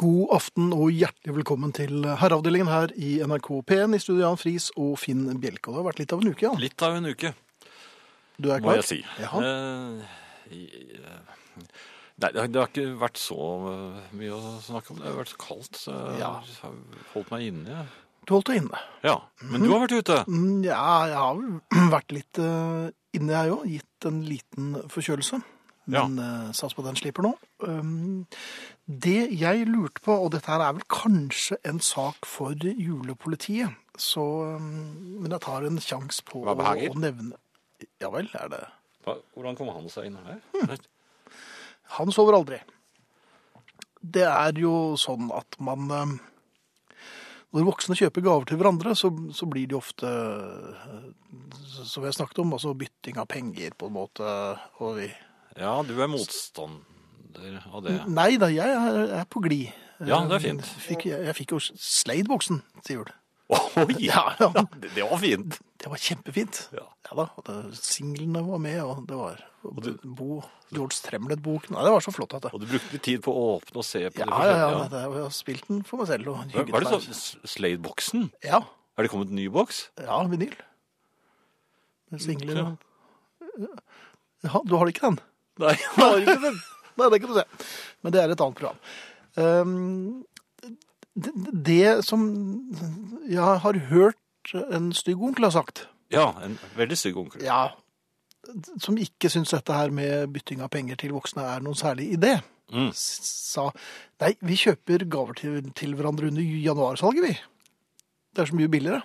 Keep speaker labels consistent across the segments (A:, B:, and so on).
A: God aften og hjertelig velkommen til Herreavdelingen her i NRK P1 i studio Jan Friis og Finn Bjelke. Og Det har vært litt av en uke, Jan.
B: Litt av en uke,
A: Du er
B: må
A: klar?
B: jeg si.
A: Jaha.
B: Eh, i- eh, Nei, det har, det har ikke vært så eh, mye å snakke om. Det har vært så kaldt, så jeg
A: Ja.
B: har holdt meg inne. jeg.
A: Du holdt deg inne.
B: Ja, men du har vært ute.
A: Mm, Ja, jeg har vært litt eh, inne, jeg òg. Gitt en liten forkjølelse. Men eh, sats på at den slipper nå. Um, det jeg lurte på, og dette her er vel kanskje en sak for julepolitiet, så um, Men jeg tar en sjanse på å,
B: Hva behager?
A: å nevne Ja vel, er det
B: Hva, hvordan kom han seg inn her?
A: Han sover aldri. Det er jo sånn at man eh, Når voksne kjøper gaver til hverandre, så, så blir det jo ofte eh, Som jeg snakket om, altså bytting av penger, på en måte. Og vi
B: Ja, du er motstander av det.
A: Nei da, jeg er, er på glid. Eh,
B: Ja, det er fint.
A: Fikk, jeg, jeg fikk jo Slade-boksen til jul.
B: Oi, ja,
A: Ja, ja.
B: det, det var fint.
A: Det var kjempefint.
B: Ja.
A: da, og det- Singlene var med, og det var Bo, George Tremlet-boken. Nei, Det var så flott. at det.
B: Og du brukte litt tid på å åpne og se på
A: Ja,
B: det
A: ja, ja.
B: forskjellige.
A: dette er- Jeg har spilt den for meg selv og
B: Hva, hva er det
A: hygget meg.
B: så? Slade-boksen?
A: Ja.
B: Er det kommet en ny boks?
A: Ja, vinyl. Med singler
B: Ja.
A: og ja, Du har ikke den?
B: Nei,
A: ikke den. Nei, det kan du se. Men det er et annet program. Ehm, det, det som jeg har hørt en stygg onkel har sagt,
B: Ja, en veldig stygg onkel.
A: ja, som ikke syns dette her med bytting av penger til voksne er noen særlig idé,
B: Mm.
A: s- sa nei, vi kjøper gaver til, til hverandre under januarsalget, vi. Det er så mye billigere.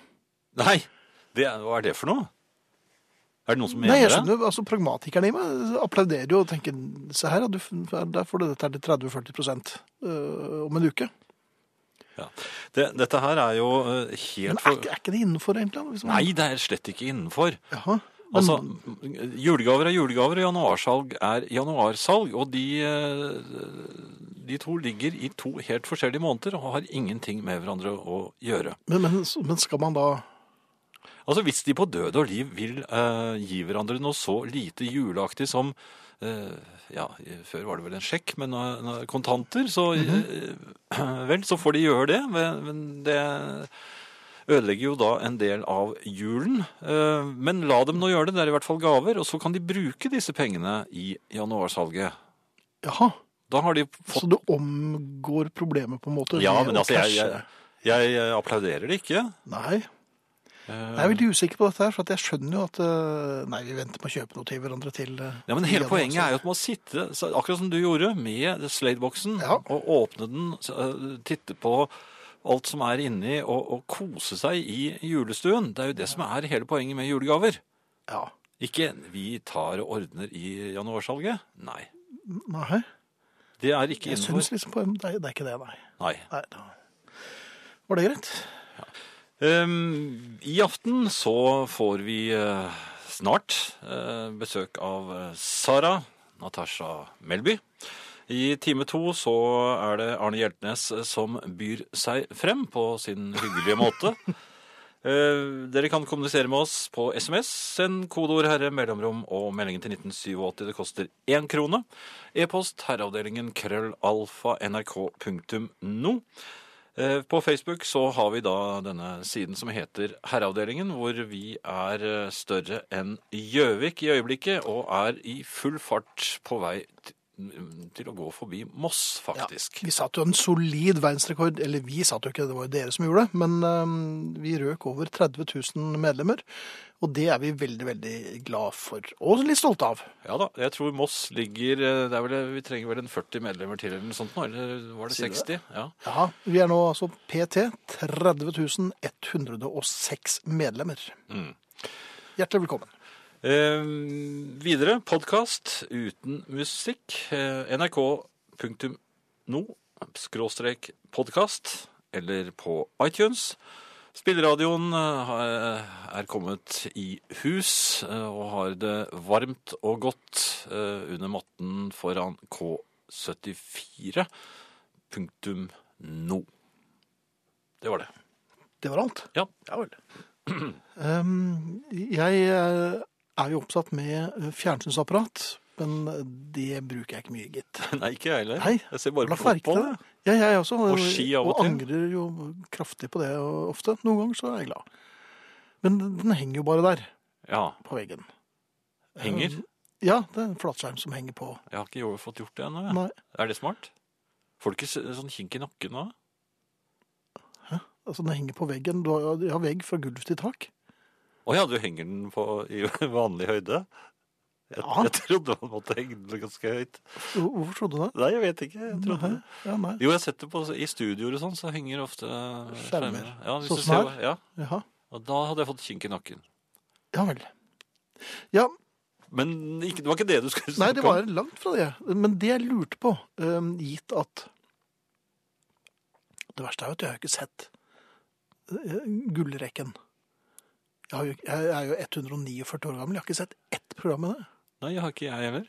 B: Nei, det, er- hva er det for noe? Er det noen som mener
A: Nei, jeg
B: det?
A: skjønner, altså Pragmatikerne i meg applauderer jo og tenker se her, ja, du, der får du dette her til 30-40 prosent øh, om en uke.
B: Ja. Det, dette her er jo eh,
A: Men
B: helt
A: er,
B: for...
A: ikke- er ikke det innenfor, egentlig? da, Hvis man...
B: Nei, det er slett ikke innenfor.
A: Jaha. Men,
B: Altså, julegaver er julegaver, og januarsalg er januarsalg, og de, eh, de to ligger i to helt forskjellige måneder og har ingenting med hverandre å gjøre.
A: men, men, men skal man da
B: Altså, hvis de på død og liv vil eh, gi hverandre noe så lite juleaktig som eh, Ja, før var det vel en sjekk, men nå- nå er det kontanter, så eh, Vel, så får de gjøre det, men, men det ødelegger jo da en del av julen. Eh, men la dem nå gjøre det, det er i hvert fall gaver, og så kan de bruke disse pengene i januarsalget.
A: Jaha.
B: Da har de
A: Så
B: fått
A: du omgår problemet, på en måte?
B: Ja,
A: ved å
B: men altså, jeg,
A: cashe?
B: jeg, jeg eh, applauderer det ikke.
A: Nei.
B: Eh,
A: Jeg er veldig usikker på dette her, for at jeg skjønner jo at eh, Nei, vi venter med å kjøpe noe til hverandre til eh,
B: Ja, men
A: i
B: Hele
A: januar,
B: poenget
A: så-
B: er jo at man sitter, så akkurat som du gjorde, med Slade-boksen,
A: Ja.
B: og åpne den, så, øh, titte på alt som er inni, og, og kose seg i julestuen. Det er jo det som er hele poenget med julegaver.
A: Ja.
B: Ikke 'vi tar og ordner i januarsalget'. Nei.
A: Nei.
B: Det er ikke
A: Jeg
B: innenfor.
A: syns liksom på det, er- det er ikke det, nei.
B: Nei.
A: nei da. Var det greit?
B: Ehm, I aften så får vi eh, snart eh, besøk av eh, Sara Natasha Melby. I time to så er det Arne Hjeltnes eh, som byr seg frem på sin hyggelige måte. Eh, Dere kan kommunisere med oss på SMS. Send kodeord 'herre', mellomrom og meldingen til 1987. Det koster én krone. E-post herreavdelingen krøllalfa nrk.no. Eh, På Facebook så har vi da denne siden som heter Herreavdelingen, hvor vi er eh, større enn Gjøvik i øyeblikket, og er i full fart på vei t- mm, til å gå forbi Moss, faktisk.
A: Vi satt jo en solid verdensrekord, eller vi satt jo ikke, det var jo dere som gjorde det, men øhm, vi røk over 30 000 medlemmer, og det er vi veldig, veldig glad for, og litt stolte av.
B: Ja da, jeg tror Moss ligger eh, det er vel, Vi trenger vel en 40 medlemmer til eller noe sånt nå, eller var det
A: Sier du
B: 60? Ja.
A: Ja, vi er nå altså PT 30 106 medlemmer. Hjertelig velkommen.
B: Eh, videre, podkast uten musikk. Eh, NRK.no skråstrek podkast, eller på iTunes. Spilleradioen eh, er kommet i hus eh, og har det varmt og godt eh, under matten foran K74.no. Det var det.
A: Det var alt.
B: Ja.
A: Øhm, jeg øh, er jo oppsatt med øh, fjernsynsapparat, men det bruker jeg ikke mye, gitt.
B: Nei, ikke jeg heller.
A: Nei,
B: Jeg ser bare
A: La
B: på
A: merke til
B: fotball.
A: det.
B: jeg.
A: Ja, jeg også.
B: Og ski av og til.
A: angrer jo kraftig på det ofte. Noen ganger så er jeg glad. Men den henger jo bare der,
B: Ja.
A: på veggen.
B: Henger?
A: Ja, det er en flatskjerm som henger på.
B: Jeg har ikke jo- fått gjort det ennå. jeg.
A: Nei,
B: Er det smart? Får du ikke s- sånn kink i nakken da?
A: altså den henger på veggen. Du har, jeg har vegg fra gulv til tak.
B: Å ja, du henger den på i vanlig høyde? Jeg,
A: Ja.
B: jeg trodde man måtte henge den ganske høyt.
A: Hvor- Hvorfor trodde du det?
B: Nei, jeg vet ikke. Jeg trodde det.
A: Ja, nei.
B: Jo, jeg setter på i studioer og sånn, så henger ofte skjermer. Ja, hvis
A: Sånn
B: du
A: som
B: ser- Ja,
A: Jaha.
B: og da hadde jeg fått kink i nakken.
A: Ja vel. Ja,
B: Men ikke, det var ikke det du skulle
A: Nei,
B: snakke
A: det var langt fra det. Men det jeg lurte på, ehm, gitt at Det verste er jo at jeg har jo ikke sett eh, gullrekken. Jeg, har jo, jeg er jo 149 år gammel, jeg har ikke sett ett program med det.
B: Nei, jeg har ikke jeg heller.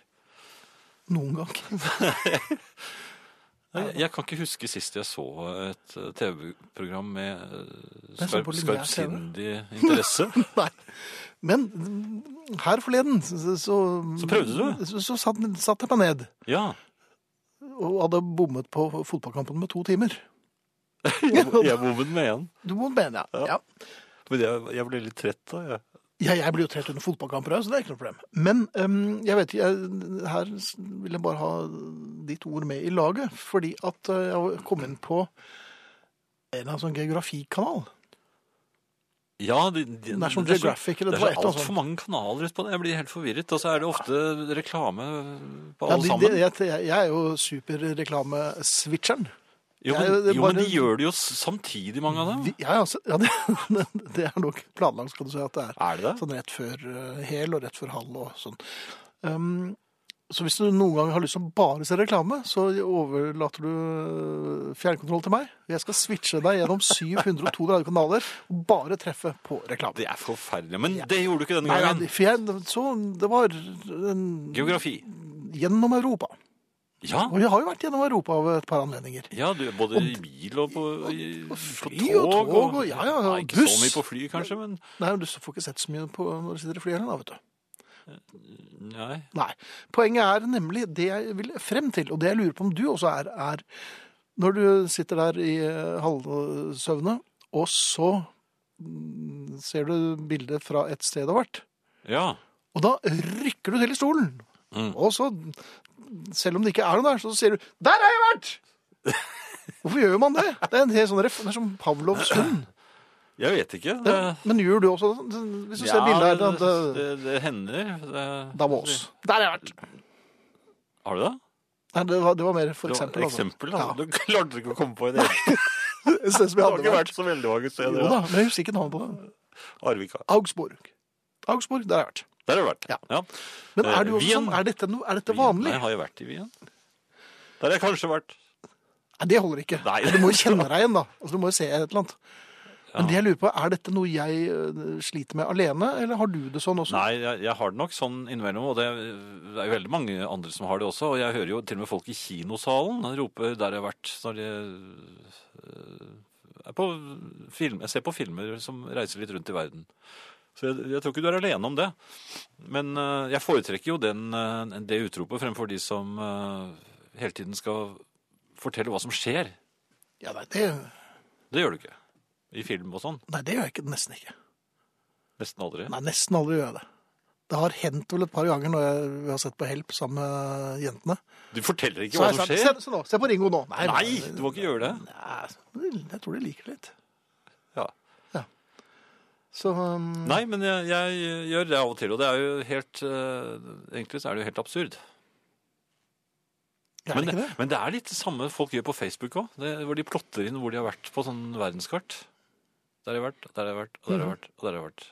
A: Noen gang.
B: Nei, jeg, jeg kan ikke huske sist jeg så et eh, TV-program med eh,
A: Jeg så
B: skarp,
A: på lineær
B: skarpsindig interesse.
A: Nei. Men mm, her forleden så Så,
B: Så prøvde du?
A: Så, så satt, satt jeg meg ned
B: Ja,
A: og hadde bommet på fotballkampen med to timer.
B: jeg, jeg bommet med en.
A: Du må mene, ja. ja.
B: Men jeg, jeg ble litt trett da, jeg.
A: Ja, jeg blir jo trett under fotballkamper òg, så det er ikke noe problem. Men øhm, jeg vet ikke, jeg- her s- vil jeg bare ha ditt ord med i laget. Fordi at øh, jeg kom inn på en eller annen sånn geografikanal.
B: Ja, de, de,
A: National
B: det er så-
A: Geographic eller
B: Det
A: det
B: er
A: var
B: så
A: et eller annet
B: altfor
A: sånt.
B: mange kanaler ute på det. Jeg blir helt forvirret. Og så er det ofte reklame på
A: Ja,
B: alle
A: de,
B: sammen.
A: de, jeg, jeg- jeg er jo superreklameswitcheren.
B: jo,
A: jeg-
B: men,
A: det
B: jo,
A: bare-
B: men de gjør det jo samtidig, mange av dem.
A: Vi- Ja, ja, så- ja, det, det er nok planlagt, skal du si, at det er.
B: Er det det?
A: Sånn rett før eh, hel og rett før halv og sånn. Ehm, så hvis du noen gang har lyst til å bare se reklame, så overlater du eh, fjernkontroll til meg. Jeg skal switche deg gjennom 732 kanaler og bare treffe på reklame.
B: Det er forferdelig. Men det gjorde du ikke denne
A: Nei, ja,
B: gangen.
A: for jeg, så det var en-
B: Geografi.
A: gjennom Europa.
B: Ja,
A: Og jeg har jo vært gjennom Europa av et par anledninger.
B: ja du, både i bil og på, i, på
A: fly
B: tog.
A: og tog og- ja, ja, ja,
B: Nei, ikke
A: buss.
B: så mye på fly, kanskje, men
A: Nei, men Du får ikke sett så mye på når du sitter i flyet heller, da, vet du.
B: Nei.
A: Nei. Poenget er nemlig det jeg vil frem til, og det jeg lurer på om du også er, er når du sitter der i eh, halvsøvne, og så mm, ser du bildet fra et sted du har vært,
B: Ja.
A: og da rykker du til i stolen.
B: Mm.
A: Og så, selv om det ikke er noe der, så sier du 'Der har jeg vært!' Hvorfor gjør man det? Det er en helt sånn ref, det er som Pavlovs hund.
B: Jeg vet ikke.
A: Det,
B: Det,
A: men gjør du også det? Hvis du ser bildet her?
B: det,
A: at, eh,
B: det, hender. Det,
A: Davos. Der har jeg vært.
B: Har du det?
A: Nei, det var, det var mer for
B: Det var
A: eksempel. altså.
B: eksempel altså. Du klarte ikke å komme på en eneste.
A: Et sted som
B: Det
A: jeg
B: har
A: hadde vært.
B: ikke vært så veldig mange steder.
A: Jo da, men jeg husker ikke navnet på det.
B: Arvika.
A: Augsburg. Augsburg, der har jeg vært.
B: Der har du vært.
A: Ja.
B: Ja.
A: Men
B: Eh,
A: er, du også
B: Wien.
A: sånn, er, dette, no, er dette vanlig?
B: Nei, har jeg vært i Wien? Der har jeg kanskje vært.
A: Nei, det holder ikke.
B: Nei.
A: Men Du må jo kjenne deg igjen, da. Altså, du må jo se et eller annet. Men det jeg lurer på, er dette noe jeg øh, sliter med alene, eller har du det sånn også?
B: Nei, jeg, jeg har det nok sånn innimellom, og det er det er jo veldig mange andre som har det også. Og jeg hører jo til og med folk i kinosalen rope 'der jeg har vært' når de eh, er på film. Jeg ser på filmer som reiser litt rundt i verden. Så jeg, jeg tror ikke du er alene om det. Men eh, jeg foretrekker jo den, eh, det utropet fremfor de som eh, hele tiden skal fortelle hva som skjer.
A: Ja, nei, det,
B: Det gjør du ikke. I film og sånn.
A: nei, det gjør jeg ikke, nesten ikke.
B: Nesten aldri.
A: Nei, nesten aldri gjør jeg det. Det har hendt vel et par ganger når jeg, vi har sett på Help sammen med jentene.
B: Du forteller ikke
A: Så
B: hva
A: har jeg
B: som
A: sagt,
B: skjer.
A: Se, se nå, se på Ringo nå.
B: Nei, du må ikke gjøre det.
A: Nei, jeg tror de liker det litt.
B: Ja.
A: Så, um,
B: Nei, men jeg, jeg eh, gjør det av og til, og det er jo helt eh, Egentlig så er det jo helt absurd.
A: er det
B: men,
A: ikke det?
B: men det er litt det samme folk gjør på Facebook òg, hvor de plotter inn hvor de har vært på sånn verdenskart. Der har jeg vært, der har jeg vært, og der har jeg vært, og der har jeg vært.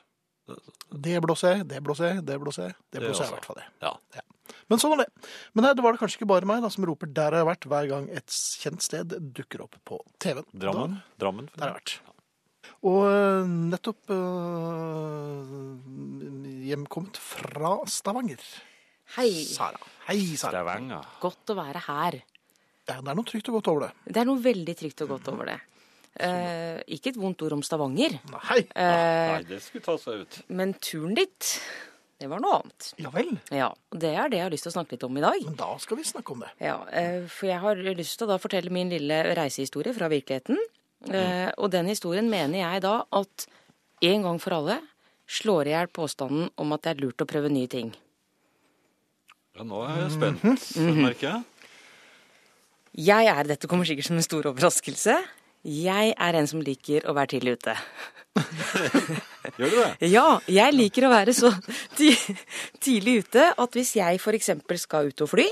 A: Det blåser jeg, det blåser jeg, det blåser jeg. Det
B: Det
A: blåser jeg i
B: også.
A: hvert fall. det.
B: Ja.
A: Men sånn var det. Men nei, det var det kanskje ikke bare meg da, som roper 'der har jeg vært' hver gang et kjent sted dukker opp på TV-en.
B: Drammen.
A: Da,
B: Drammen.
A: der har jeg vært. Og øh, nettopp øh, hjemkommet fra Stavanger.
C: Hei.
A: Sara. Hei, Sara.
B: Stavanger.
C: Godt å være her.
A: Ja, det er noe trygt og godt over det.
C: Det er noe veldig trygt og godt over det. Eh, ikke et vondt ord om Stavanger,
A: Nei.
C: eh,
B: Nei, det skulle ta seg ut.
C: men turen dit Det var noe annet.
A: Ja vel.
C: Ja, og det er det jeg har lyst til å snakke litt om i dag.
A: Men da skal vi snakke om det.
C: Ja, eh, For jeg har lyst til å da fortelle min lille reisehistorie fra virkeligheten. Eh, Og den historien mener jeg da at en gang for alle slår i hjel påstanden om at det er lurt å prøve nye ting.
B: Ja, nå er jeg spent, Mm-hmm. merker jeg.
C: Jeg er, dette kommer sikkert som en stor overraskelse, jeg er en som liker å være tidlig ute.
B: Gjør du det?
C: Ja, jeg liker å være så ti tidlig ute at hvis jeg f.eks. skal ut og fly,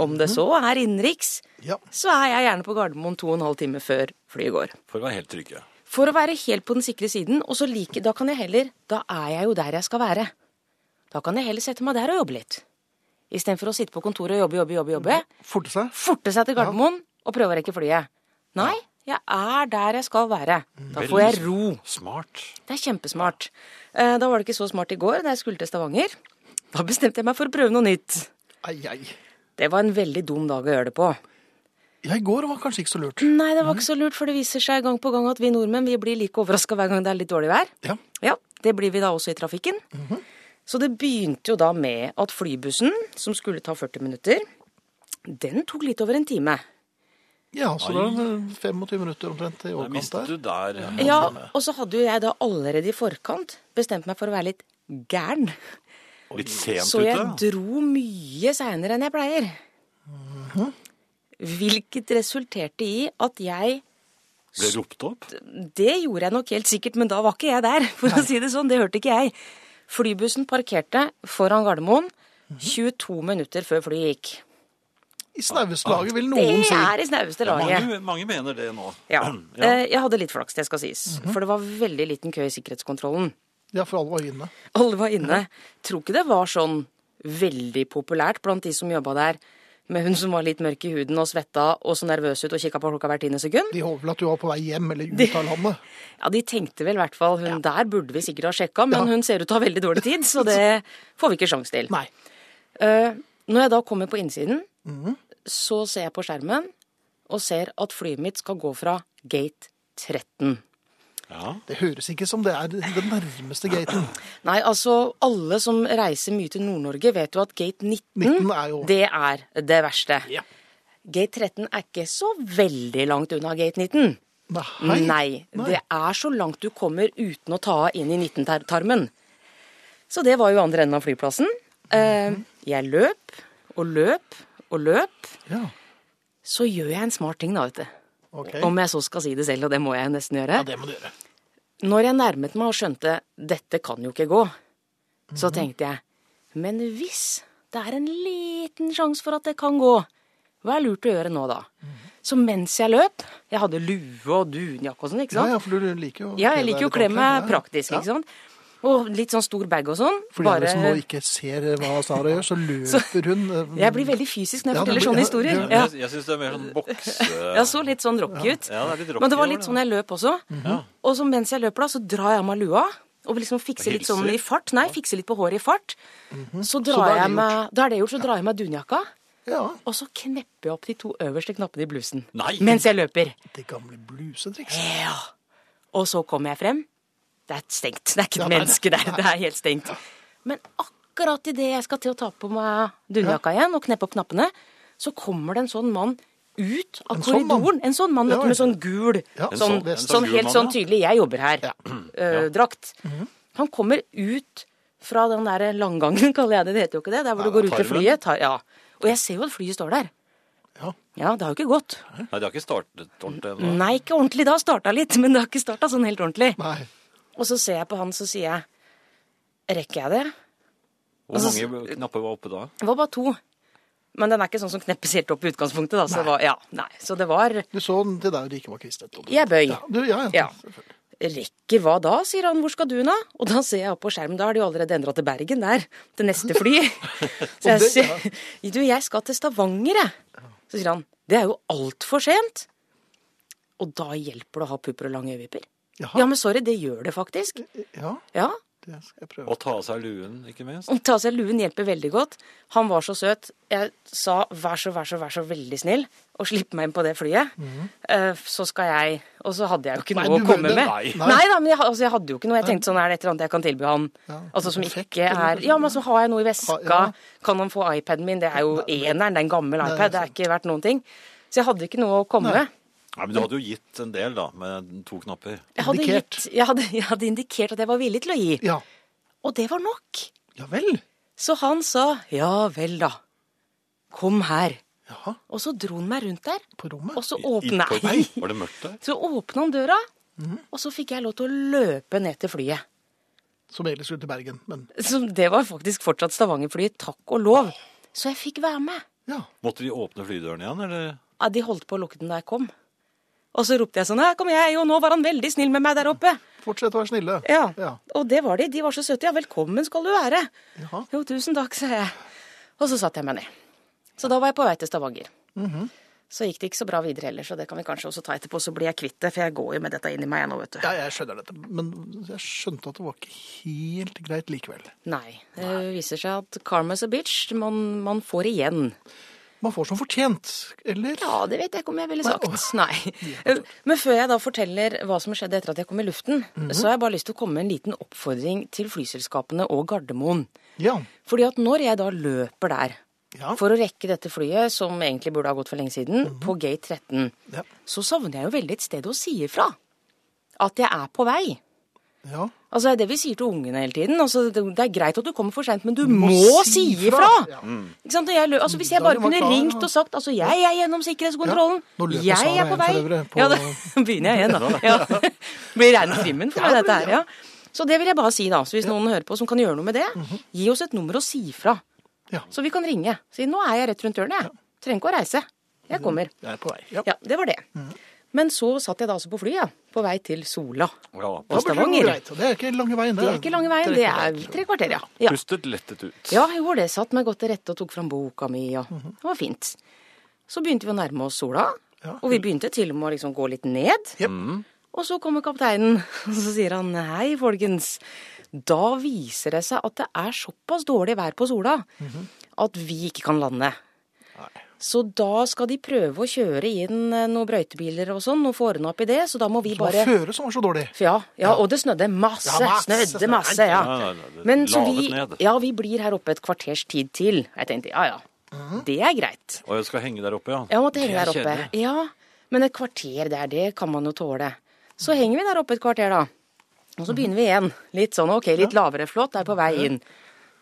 C: om det så er innenriks,
A: Ja.
C: så er jeg gjerne på Gardermoen to og en halv time før flyet går.
B: For å være helt trygge.
C: For å være helt på den sikre siden, og så like, da kan jeg heller Da er jeg jo der jeg skal være. Da kan jeg heller sette meg der og jobbe litt. Istedenfor å sitte på kontoret og jobbe, jobbe, jobbe. jobbe.
A: Forte seg.
C: Forte seg til Gardermoen og prøve å rekke flyet. Nei, jeg er der jeg skal være.
B: Mm.
C: Da får jeg ro.
B: Smart.
C: Det er kjempesmart. Eh, Da var det ikke så smart i går da jeg skulle til Stavanger. Da bestemte jeg meg for å prøve noe nytt.
A: Ei, ei.
C: Det var en veldig dum dag å gjøre det på. Mm.
A: Ja, i går var kanskje ikke så lurt.
C: Nei, det var ikke så lurt, for det viser seg gang på gang at vi nordmenn vi blir like overraska hver gang det er litt dårlig vær.
A: Ja.
C: Ja, det blir vi da også i trafikken. Så det begynte jo da med at flybussen, som skulle ta 40 minutter, den tok litt over en time.
A: Ja, så det er 25 minutter omtrent i
B: Der
A: overkant
B: mistet
A: der.
B: du der.
C: Ja, og så hadde jo jeg da allerede i forkant bestemt meg for å være litt gæren.
B: Litt sent
C: Så jeg
B: ute.
C: dro mye seinere enn jeg pleier. Mhm. Hvilket resulterte i at jeg
B: Ble ropt opp.
C: Det gjorde jeg nok helt sikkert, men da var ikke jeg der, for å si det sånn. Det hørte ikke jeg. Flybussen parkerte foran Gardermoen 22 minutter før flyet gikk.
A: I snaueste
B: Ah,
A: laget vil
C: Det
A: noen si.
C: er i snaueste laget.
B: Mange, mange mener det nå.
C: Ja. Mhm. Eh, Jeg hadde litt flaks, det skal sies. For det var veldig liten kø i sikkerhetskontrollen.
A: Ja, for alle var inne.
C: Alle var inne. Tror ikke det var sånn veldig populært blant de som jobba der, med hun som var litt mørk i huden og svetta og så nervøs ut og kikka på klokka hvert tiende sekund.
A: De håper vel at du var på vei hjem eller ut av landet.
C: Ja, de tenkte vel i hvert fall hun der burde vi sikkert ha sjekka, men hun ser ut til å ha veldig dårlig tid, så det får vi ikke sjans til.
A: Nei.
C: Eh, når jeg da kommer på innsiden, så ser jeg på skjermen og ser at flyet mitt skal gå fra gate 13.
B: Ja.
A: Det høres ikke som det er den nærmeste gaten.
C: Nei, altså, alle som reiser mye til Nord-Norge, vet jo at gate 19,
A: 19 er jo-
C: det er det verste.
A: Ja.
C: Gate 13 er ikke så veldig langt unna gate 19.
A: Nei.
C: Nei, det er så langt du kommer uten å ta inn i 19-tarmen. Så det var jo andre enden av flyplassen. Eh,
A: Mhm.
C: Jeg løp og løp og løp.
A: Ja,
C: Så gjør jeg en smart ting, da, vet du.
A: ok.
C: Om jeg så skal si det selv, og det må jeg nesten gjøre.
A: Ja, det må du gjøre.
C: Når jeg nærmet meg og skjønte dette kan jo ikke gå, så
A: Mhm.
C: tenkte jeg men hvis det er en liten sjanse for at det kan gå, hva er lurt å gjøre nå da?
A: Mhm.
C: Så mens jeg løp Jeg hadde lue og dunjakke og sånn, ikke
A: Ja,
C: sant?
A: ja, for du liker jo å
C: Ja,
A: kle deg
C: jeg liker jo
A: litt
C: å kle
A: ordentlig.
C: meg
A: Ja, ja.
C: praktisk, liksom. ikke sant. Og litt sånn stor bag og sånn.
A: For dere som nå ikke ser hva Sara gjør, så løper hun eh,
C: Jeg blir veldig fysisk når jeg
A: Ja, det
C: forteller
A: blir-
C: sånne
A: ja,
C: historier.
A: det-
C: Ja.
B: Jeg, jeg syns det er mer sånn boks...
C: Jeg så litt sånn rocky ut.
B: Ja, det er litt rocky
C: Men det var
B: over
C: litt
B: det,
C: sånn jeg løp også. Og så mens jeg løper da, så drar jeg av meg lua. Og liksom fikser litt sånn
B: Hilser.
C: i fart. Nei, fikser litt på håret i fart. Så
A: Mhm. da
C: drar
A: er det
C: jeg
A: gjort.
C: meg Da er det gjort. Så drar jeg meg dunjakka.
A: Ja,
C: Og så knepper jeg opp de to øverste knappene i blusen.
B: Nei.
C: Mens jeg løper.
A: det gamle blusetriks.
C: Ja. Og så kommer jeg frem. Det er stengt. Det er ikke et menneske der. Det er helt stengt. Men akkurat idet jeg skal til å ta på meg dunjakka igjen og kneppe opp knappene, så kommer det en sånn mann ut av
A: En sånn mann?
C: korridoren. en sånn mann vet
A: Ja,
C: du, med
A: ja.
C: sånn gul
A: Ja, en
C: sånn,
A: sånn- en
C: sånn,
B: sånn gul
C: helt
B: mann,
C: sånn
B: ja.
C: tydelig 'jeg jobber her'-drakt. Han kommer ut fra den der langgangen, kaller jeg det. Det heter jo ikke det. Der hvor du
B: Nei,
C: går ut til
B: tarmen.
C: flyet. Tar, ja. Og jeg ser jo at flyet står der.
A: Ja.
C: Ja, det har jo ikke gått.
B: Nei, det har ikke startet ordentlig ennå.
C: Nei, ikke ordentlig. Det har starta litt, men det har ikke starta sånn helt ordentlig.
A: Nei.
C: Og så ser jeg på han, så sier jeg Rekker jeg det?
B: Hvor mange knapper var oppe da?
C: Det var bare to. Men den er ikke sånn som kneppes helt opp i utgangspunktet, da. Så det var, ja, nei. Så det var
A: Du så den til der det ikke var kvistet. og-
C: Jeg bøy.
A: Ja, du, ja, ja.
C: Ja. Rekker hva da, sier han. Hvor skal du nå? Og da ser jeg opp på skjermen, da har de jo allerede endra til Bergen der. Til neste fly.
A: Og
C: Så jeg
A: det-
C: sier du, jeg skal til Stavanger, jeg. Så sier han det er jo altfor sent. Og da hjelper det å ha pupper og lange øyevipper.
A: Jaha.
C: Ja, men sorry, det gjør det faktisk.
A: Ja.
C: Ja.
A: Det skal jeg prøve.
B: Og ta av seg luen, ikke minst.
C: Å Ta av seg luen hjelper veldig godt. Han var så søt. Jeg sa vær så, vær så, vær så veldig snill og slipp meg inn på det flyet. Eh, så skal jeg Og så hadde jeg jo ikke
A: Nei,
C: noe å
A: du-
C: komme
A: det-
C: med.
B: nei.
A: Nei.
C: da, men jeg, altså, jeg hadde jo ikke noe. Jeg tenkte sånn er det et eller annet jeg kan tilby han?
A: Ja,
C: altså som
A: perfekt,
C: ikke
A: eller
C: er
A: noe
C: Ja, men så har jeg noe i
A: Ha-
C: veska.
A: ja.
C: Kan han få iPaden min? Det er jo eneren, det er en gammel
A: Nei,
C: iPad. Det er ikke verdt noen ting. Så jeg hadde ikke noe å komme med.
B: Nei, men Du hadde jo gitt en del, da, med to knapper.
C: Jeg hadde,
A: Indikert.
C: gitt, jeg, hadde, jeg hadde indikert at jeg var villig til å gi.
A: Ja.
C: Og det var nok.
A: ja vel.
C: Så han sa ja vel, da. Kom her.
A: Jaha,
C: Og så dro han meg rundt der,
A: på
C: og
A: rommet.
C: så
B: I-
C: åpna
B: på- Mhm. Nei, Var det mørkt der?
C: Så åpna han døra, og så fikk jeg lov til å løpe ned til flyet.
A: Som ellers skulle til Bergen, men
C: Så det var faktisk fortsatt Stavanger-flyet, takk og lov. Så jeg fikk være med.
A: ja.
B: Måtte de åpne flydøren igjen, eller?
C: Ja, de holdt på å lukke den da jeg kom. Og så ropte jeg sånn her kommer jeg, og nå var han veldig snill med meg der oppe.
A: Fortsett å være snille.
C: Ja,
A: Ja.
C: Og det var de. De var så søte. Ja, velkommen skal du være.
A: Jaha.
C: Jo, tusen takk, sa jeg. Og så satte jeg meg ned. Så da var jeg på vei til Stavanger.
B: Mhm.
C: Så gikk det ikke så bra videre heller, så det kan vi kanskje også ta etterpå. Så blir jeg kvitt det, for jeg går jo med dette inn i meg jeg nå, vet du.
A: Ja, jeg skjønner dette, men jeg skjønte at det var ikke helt greit likevel.
C: Nei. Det viser seg at karma is a bitch. Man, man får igjen.
A: Man får som fortjent, eller?
C: Ja, det vet jeg ikke om jeg ville
A: Nei,
C: sagt. Nei. Men før jeg da forteller hva som skjedde etter at jeg kom i luften, så har jeg bare lyst til å komme med en liten oppfordring til flyselskapene og Gardermoen.
A: Ja.
C: Fordi at når jeg da løper der
A: Ja.
C: for å rekke dette flyet, som egentlig burde ha gått for lenge siden, på gate 13,
A: Ja.
C: så savner jeg jo veldig et sted å si ifra. At jeg er på vei.
A: ja.
C: Altså, det er det vi sier til ungene hele tiden. Altså, det det er greit at du kommer for seint, men du må,
A: må
C: si
A: si
C: ifra!
A: ifra. Ja.
C: Ikke sant? Og Jeg, lø- altså, hvis jeg
A: Da er
C: bare
A: det
C: kunne
A: klar,
C: ringt
A: ja.
C: og sagt altså, 'jeg er gjennom sikkerhetskontrollen',
A: Ja. Nå løper Sara
C: jeg er på
A: igjen
C: vei
A: for øvrig på-
C: Ja, da begynner jeg igjen, da. Ja. Blir reine krimmen for meg, dette her. ja. Så det vil jeg bare si, da. Så hvis noen hører på som kan gjøre noe med det, gi oss et nummer og si ifra.
A: Mhm. Ja.
C: Så vi kan ringe. Si 'nå er jeg rett rundt hjørnet', jeg. Trenger ikke å reise. Jeg kommer.
A: Jeg er på vei. Ja.
C: Ja, det var det.
A: Mhm.
C: Men så satt jeg da altså på flyet, på vei til Sola.
B: Ja,
C: På
A: Da blir det
C: Stavanger.
A: greit, og Det er ikke lange veien,
C: Det er ikke lange veien, det er tre kvarter, ja. ja.
B: Pustet lettet ut.
C: Ja, jeg gjorde det. Satt meg godt til rette og tok fram boka mi, og det var fint. Så begynte vi å nærme oss sola,
A: Ja.
C: og vi begynte til og med å liksom gå litt ned.
A: Jep.
C: Og så kommer kapteinen, og så sier han hei, folkens. Da viser det seg at det er såpass dårlig vær på sola at vi ikke kan lande. Så da skal de prøve å kjøre inn eh, noen brøytebiler og sånn, og få ordna opp i det, så da må vi
A: Det var
C: bare
A: føret som var så dårlig.
C: for Ja, ja, og det snødde masse.
A: Ja, masse snø.
C: snødde masse, ja.
B: Nei, nei, nei, det
C: Men så
B: lavet
C: vi,
B: ned.
C: ja, vi blir her oppe et kvarters tid til. Jeg tenkte ja, ja.
B: Mhm.
C: Det er greit.
B: Og jeg skal henge der oppe, ja.
C: Jeg måtte henge
B: Det
C: der
B: er
C: oppe.
B: kjedelig.
C: Ja, Men et kvarter der, det kan man jo tåle. Så henger vi der oppe et kvarter, da. Og så begynner vi igjen. Litt sånn ok, litt lavere, flott, er på vei inn.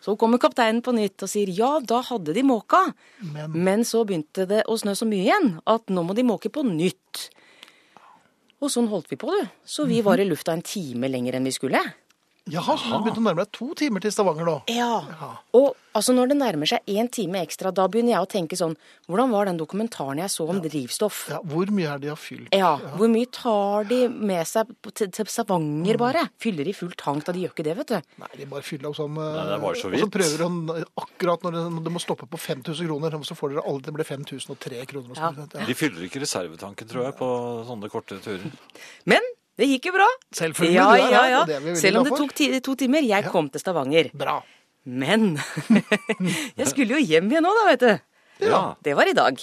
C: Så kommer kapteinen på nytt og sier ja, da hadde de måka.
A: Men-
C: Men så begynte det å snø så mye igjen at nå må de måke på nytt. Og sånn holdt vi på, du. Så vi var i lufta en time lenger enn vi skulle.
A: Jaha, så du begynte å nærme deg to timer til Stavanger nå.
C: Ja. Og altså, når det nærmer seg én time ekstra, da begynner jeg å tenke sånn Hvordan var den dokumentaren jeg så om drivstoff?
A: Ja, hvor mye er det de har fylt?
C: Ja, Hvor mye tar de med seg på- til, til
A: Mm.
C: Stavanger, bare? Fyller de full tank da? De gjør ikke det, vet du.
A: Nei, de bare fyller opp sånn eh,
B: Nei, det er bare så
A: Og så
B: vidt.
A: prøver han eh, akkurat når det- når det må stoppe på 5000 kroner, så får dere alle det ble 5003 kroner. Og sånn, ja.
B: De fyller ikke reservetanken, tror jeg, på sånne korte turer.
C: Men det gikk jo bra.
A: Selvfølgelig,
C: Ja,
A: du er
C: ja,
A: her,
C: ja.
A: og det er vi veldig
C: Selv om
A: glad
C: det
A: for.
C: tok ti, to timer. Jeg kom til Stavanger.
A: Bra.
C: Men jeg skulle jo hjem igjen nå, da, vet du.
B: Ja.
C: Det var i dag.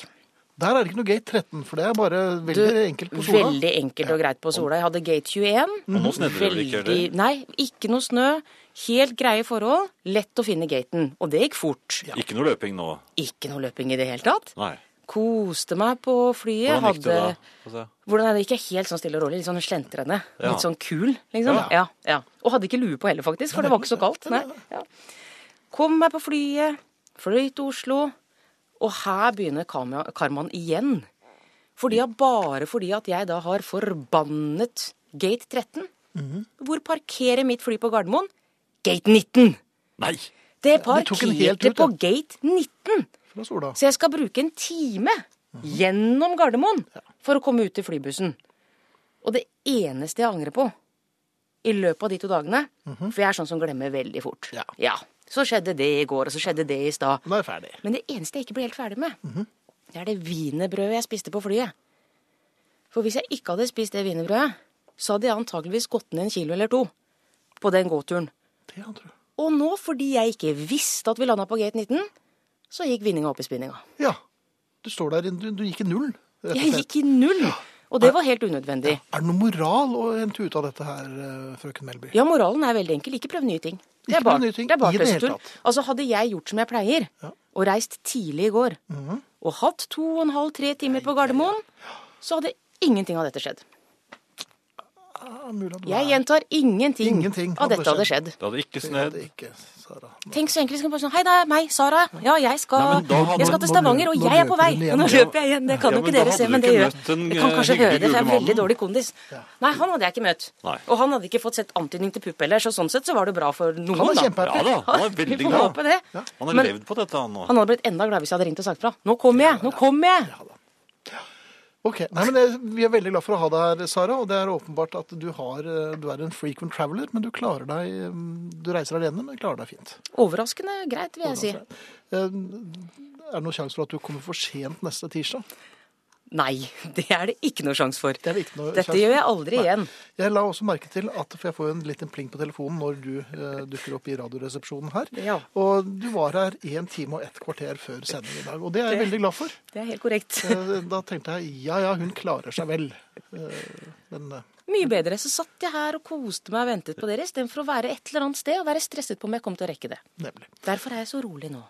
A: Der er det ikke noe gate 13, for det er bare veldig enkelt på sola.
C: Veldig enkelt og greit på sola. Jeg hadde gate 21.
B: Og nå snedde det vel ikke, eller?
C: Veldig- Nei, ikke noe snø. Helt greie forhold. Lett å finne gaten. Og det gikk fort.
B: Ikke noe løping nå.
C: Ikke noe løping i det hele tatt.
B: Nei.
C: Koste meg på flyet.
B: Hvordan gikk det da? Altså,
C: Hadde-
B: Få se.
C: Hvordan er det ikke helt sånn stille og rolig? Litt sånn slentrende.
B: Ja.
C: Litt sånn kul, liksom.
B: Ja.
C: Ja. Ja, Og hadde ikke lue på heller, faktisk, for det var ikke så kaldt. Nei. Ja. Kom meg på flyet, fløy til Oslo, og her begynner karma, karmaen igjen. Fordi at bare fordi at jeg da har forbannet gate 13. Hvor parkerer mitt fly på Gardermoen? Gate 19!
B: Nei!
C: Det
A: det tok en hel
C: parkerte
A: tur,
C: på
A: det.
C: gate 19!
A: Fra sola.
C: Så jeg skal bruke en time gjennom Gardermoen for å komme ut til flybussen. Og det eneste jeg angrer på i løpet av de to dagene For jeg er sånn som glemmer veldig fort.
A: Ja.
C: Så skjedde det i går, og så skjedde det i stad.
A: Nå er jeg ferdig.
C: Men det eneste jeg ikke ble helt ferdig med, det er det wienerbrødet jeg spiste på flyet. For hvis jeg ikke hadde spist det wienerbrødet, så hadde jeg antakeligvis gått ned en kilo eller to på den gåturen.
A: Det han tror.
C: Og nå, fordi jeg ikke visste at vi landa på gate 19, så gikk vinninga opp i spinninga.
A: Ja. Du står der, du, du gikk i null, rett og
C: Jeg
A: slett.
C: gikk i null! Og det var helt unødvendig.
A: Er det noe moral å hente ut av dette her, eh, frøken Melby?
C: Ja, moralen er veldig enkel. Ikke prøv nye ting. Det
A: Ikke
C: er bare,
A: prøv nye ting
C: det er bare
A: i det hele
C: tøstetull.
A: tatt.
C: Altså, hadde jeg gjort som jeg pleier, og reist tidlig i går,
A: Mhm.
C: og hatt to og en halv, tre timer på Gardermoen, så hadde ingenting av dette skjedd.
A: Ja, mulig at du
C: Jeg
A: er-
C: gjentar ingenting,
A: Ingenting
C: av
A: hadde
C: dette hadde skjedd.
B: Det hadde ikke
A: Det er
B: snedd.
A: det ikke, Sara.
C: Tenk så enkelt. Skal man bare sånn, Hei, det er meg, Sara. Ja, jeg skal,
B: Nei, men da hadde-
C: jeg skal til
A: nå
C: Stavanger,
A: løper-
C: og
A: nå
C: jeg er
A: løper
C: på vei.
A: hun igjen.
C: Nå løper jeg igjen. Det kan
B: Ja, men
C: jo ikke
B: da
C: dere
B: hadde
C: se,
B: du
C: men
B: ikke
C: det gjør
B: møtt en,
C: Jeg kan
B: eh,
C: kanskje høre
B: hyggelig
C: det, for jeg er
B: julemannen.
C: veldig dårlig kondis. Nei, han hadde jeg ikke møtt.
B: Nei.
C: Og han hadde ikke fått sett antydning til pupp heller, så sånn sett så var det bra for noen,
A: Han er
C: da.
A: kjempehappy.
B: Ja da, han er
C: Vi
B: veldig
C: får
B: glad.
C: håpe det.
B: Han har
C: Men
B: levd på dette, han nå.
C: han hadde blitt enda glad hvis jeg hadde ringt og sagt fra. Nå kommer jeg! Nå kommer jeg!
A: Ok, Nei, men det, Vi er veldig glad for å ha deg her, Sara. Og det er åpenbart at du, har, eh, du er en frequent traveler, men du klarer deg eh, Du reiser alene, men klarer deg fint.
C: Overraskende greit, vil jeg si.
A: Eh, Er det noen sjanse for at du kommer for sent neste tirsdag?
C: Nei, det er det ikke noe sjanse for.
A: er det ikke noe
C: Dette
A: sjanse
C: gjør jeg aldri igjen.
A: Jeg la også merke til at For jeg får jo en liten pling på telefonen når du eh, dukker opp i Radioresepsjonen her.
C: Ja.
A: Og du var her én time og ett kvarter før sending i dag. Og det er jeg
C: Det-
A: veldig glad for.
C: Det er helt korrekt.
A: Eh, Da tenkte jeg ja ja, hun klarer seg vel. Eh, Men eh,
C: Mye bedre. Så satt jeg her og koste meg og ventet på dere, istedenfor å være et eller annet sted og være stresset på om jeg kom til å rekke det.
A: nemlig.
C: Derfor er jeg så rolig nå.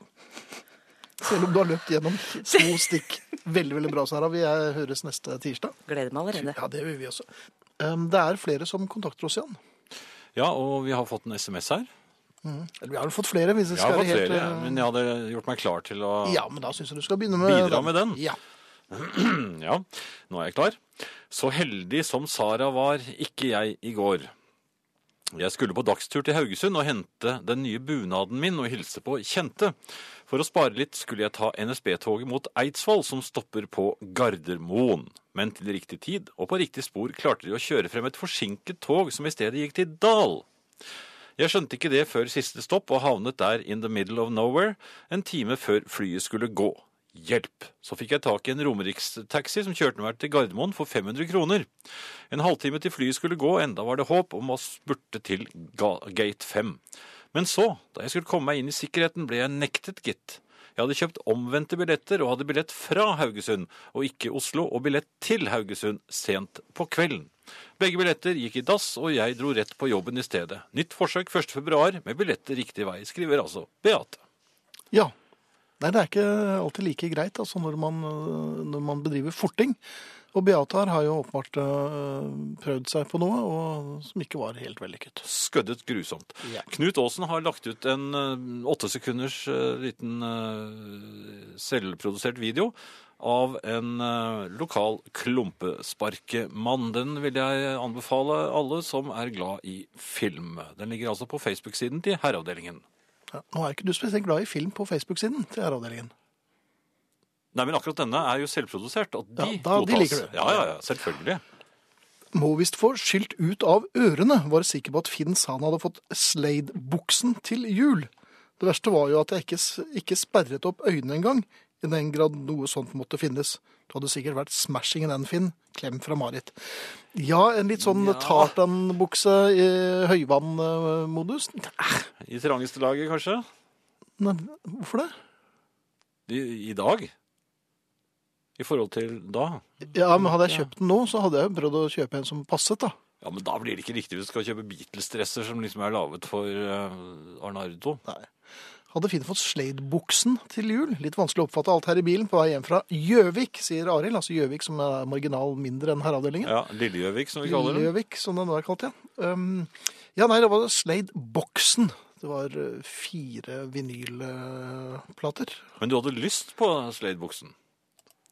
A: Selv om du har løpt gjennom to stikk. Veldig veldig bra, Sara. Vi er, høres neste tirsdag.
C: Gleder meg allerede.
A: Ja, det gjør vi også. Um, Det er flere som kontakter oss igjen.
B: Ja, og vi har fått en SMS her.
A: Eller vi har vel fått flere. hvis det
B: Jeg har
A: skal
B: fått
A: være helt,
B: flere,
A: eh,
B: men jeg hadde gjort meg klar til å
A: Ja, men da syns jeg du skal begynne med
B: Bidra med den.
A: Ja.
B: Mm, Ja, nå er jeg klar. Så heldig som Sara var, ikke jeg i går. Jeg skulle på dagstur til Haugesund og hente den nye bunaden min og hilse på kjente. For å spare litt skulle jeg ta NSB-toget mot Eidsvoll, som stopper på Gardermoen. Men til riktig tid og på riktig spor klarte de å kjøre frem et forsinket tog som i stedet gikk til Dal. Jeg skjønte ikke det før siste stopp og havnet der in the middle of nowhere en time før flyet skulle gå. Hjelp! Så fikk jeg tak i en romerikstaxi som kjørte meg til Gardermoen for 500 kroner. En halvtime til flyet skulle gå, enda var det håp om å spurte til ga gate 5. Men så, da jeg skulle komme meg inn i sikkerheten, ble jeg nektet, gitt. Jeg hadde kjøpt omvendte billetter og hadde billett fra Haugesund og ikke Oslo, og billett til Haugesund sent på kvelden. Begge billetter gikk i dass, og jeg dro rett på jobben i stedet. Nytt forsøk 1. februar med billetter riktig vei, skriver altså Beate.
A: ja. Nei, det er ikke alltid like greit altså, når, man, øh, når man bedriver forting. Og Beate her har jo åpenbart øh, prøvd seg på noe og, som ikke var helt vellykket.
B: Skøddet grusomt.
A: Ja.
B: Knut Aasen har lagt ut en eh, åtte sekunders eh, liten eh, selvprodusert video av en eh, lokal klumpesparkemann. Den vil jeg anbefale alle som er glad i film. Den ligger altså på Facebook-siden til Herreavdelingen.
A: Ja. Nå er ikke du spesielt glad i film på Facebook-siden til R-avdelingen.
B: Nei, men akkurat denne er jo selvprodusert, og de
A: Ja, da- de
B: godtas.
A: liker du.
B: Ja, ja, ja, selvfølgelig.
A: Må visst få skylt ut av ørene, var sikker på at Finn sa han hadde fått Slade-buksen til jul. Det verste var jo at jeg ikke, s- ikke sperret opp øynene engang, i den grad noe sånt måtte finnes. Du hadde sikkert vært smashing in den, Finn. Klem fra Marit. Ja, en litt sånn
B: Ja.
A: tartanbukse i høyvannmodus. Eh,
B: I trangeste laget, kanskje?
A: Nei, hvorfor det?
B: I, I dag? I forhold til da?
A: Ja, men hadde jeg kjøpt den nå, så hadde jeg jo prøvd å kjøpe en som passet, da.
B: Ja, men da blir det ikke riktig hvis du skal kjøpe Beatles-dresser som liksom er laget for eh, Arnardo.
A: Hadde fint fått Slade-buksen til jul. Litt vanskelig å oppfatte alt her i bilen på vei hjem fra Gjøvik, sier Arild. Altså Gjøvik som er marginal mindre enn herreavdelingen.
B: Ja, Lille-Gjøvik, som vi kaller den.
A: Gjøvik, som den nå er kalt, ja. Um, ja, nei, det var Slade-boksen. Det var eh, fire vinylplater.
B: Men du hadde lyst på Slade-buksen.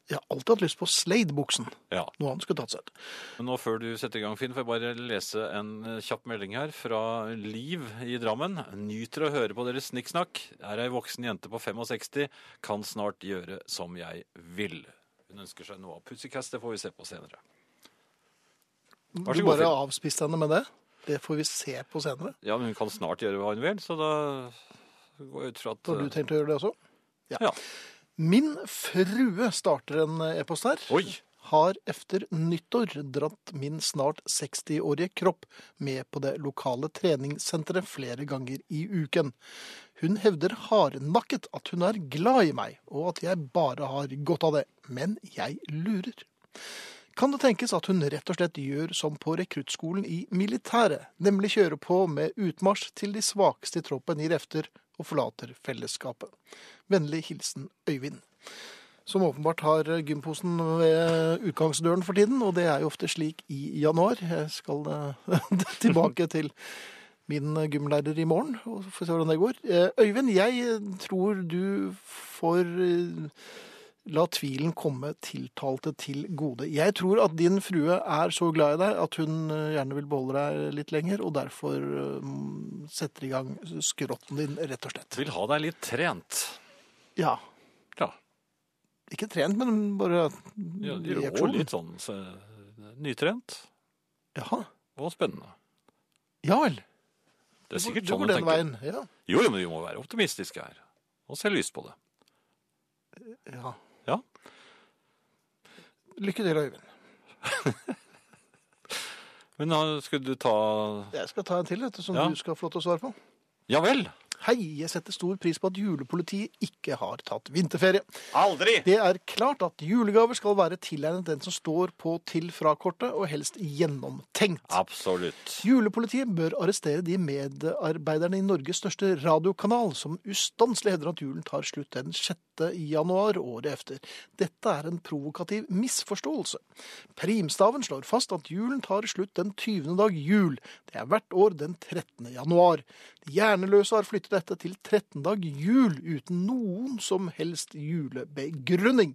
A: Jeg har alltid hatt lyst på Slade-buksen.
B: Ja.
A: Noe annet skulle tatt seg ut.
B: Men nå før du setter i gang, Finn, får jeg bare lese en eh, kjapp melding her fra Liv i Drammen. Nyter å høre på deres snikksnakk. Er ei voksen jente på 65. Kan snart gjøre som jeg vil. Hun ønsker seg noe av Pussycast, det får vi se på senere. Vær så
A: Du
B: god,
A: bare
B: Finn.
A: avspiste henne med det. Det får vi se på senere.
B: Ja, men hun kan snart gjøre hva hun vil, så da går jeg ut fra at
A: Så har du
B: eh,
A: tenkt å gjøre det også?
B: Ja.
A: Min frue starter en eh, e-post her.
B: Oi!
A: har efter nyttår dratt min snart 60-årige kropp med på det lokale treningssenteret flere ganger i uken. Hun hevder hardnakket at hun er glad i meg, og at jeg bare har godt av det. Men jeg lurer. Kan det tenkes at hun rett og slett gjør som på rekruttskolen i militæret, nemlig kjører på med utmarsj til de svakeste i troppen gir efter og forlater fellesskapet? Vennlig hilsen Øyvind. Som åpenbart har gymposen ved utgangsdøren for tiden, og det er jo ofte slik i januar. Jeg skal eh, tilbake til min gymlærer i morgen, og så får vi se hvordan det går. Eh, Øyvind, jeg tror du får eh, la tvilen komme tiltalte til gode. Jeg tror at din frue er så glad i deg at hun eh, gjerne vil beholde deg litt lenger, og derfor eh, setter i gang skrotten din, rett og slett.
B: Vil ha deg litt trent.
A: Ja,
B: Ja.
A: ikke trent, men bare
B: ja de rår
A: reaksjon.
B: litt sånn så, nytrent
A: Jaha.
B: og spennende.
A: Ja vel.
B: Det er sikkert
A: du
B: sånn
A: går
B: du
A: den
B: tenker.
A: veien. Ja.
B: Jo, jo, men vi må være optimistiske her. Og se lyst på det.
A: ja.
B: Ja.
A: Lykke til, Øyvind.
B: Men da skulle du ta
A: Jeg skal ta en til, vet du, som
B: Ja.
A: du skal få lov til å svare på.
B: Ja vel!
A: Hei, jeg setter stor pris på at julepolitiet ikke har tatt vinterferie.
B: Aldri!
A: Det er klart at julegaver skal være tilegnet den som står på til-fra-kortet, og helst gjennomtenkt.
B: Absolutt.
A: Julepolitiet bør arrestere de medarbeiderne i Norges største radiokanal som ustanselig hevder at julen tar slutt den 6. januar året efter. Dette er en provokativ misforståelse. Primstaven slår fast at julen tar slutt den 20. dag jul. Det er hvert år den 13. januar. De hjerneløse har flyttet dette til 13. dag jul uten noen som helst julebegrunning.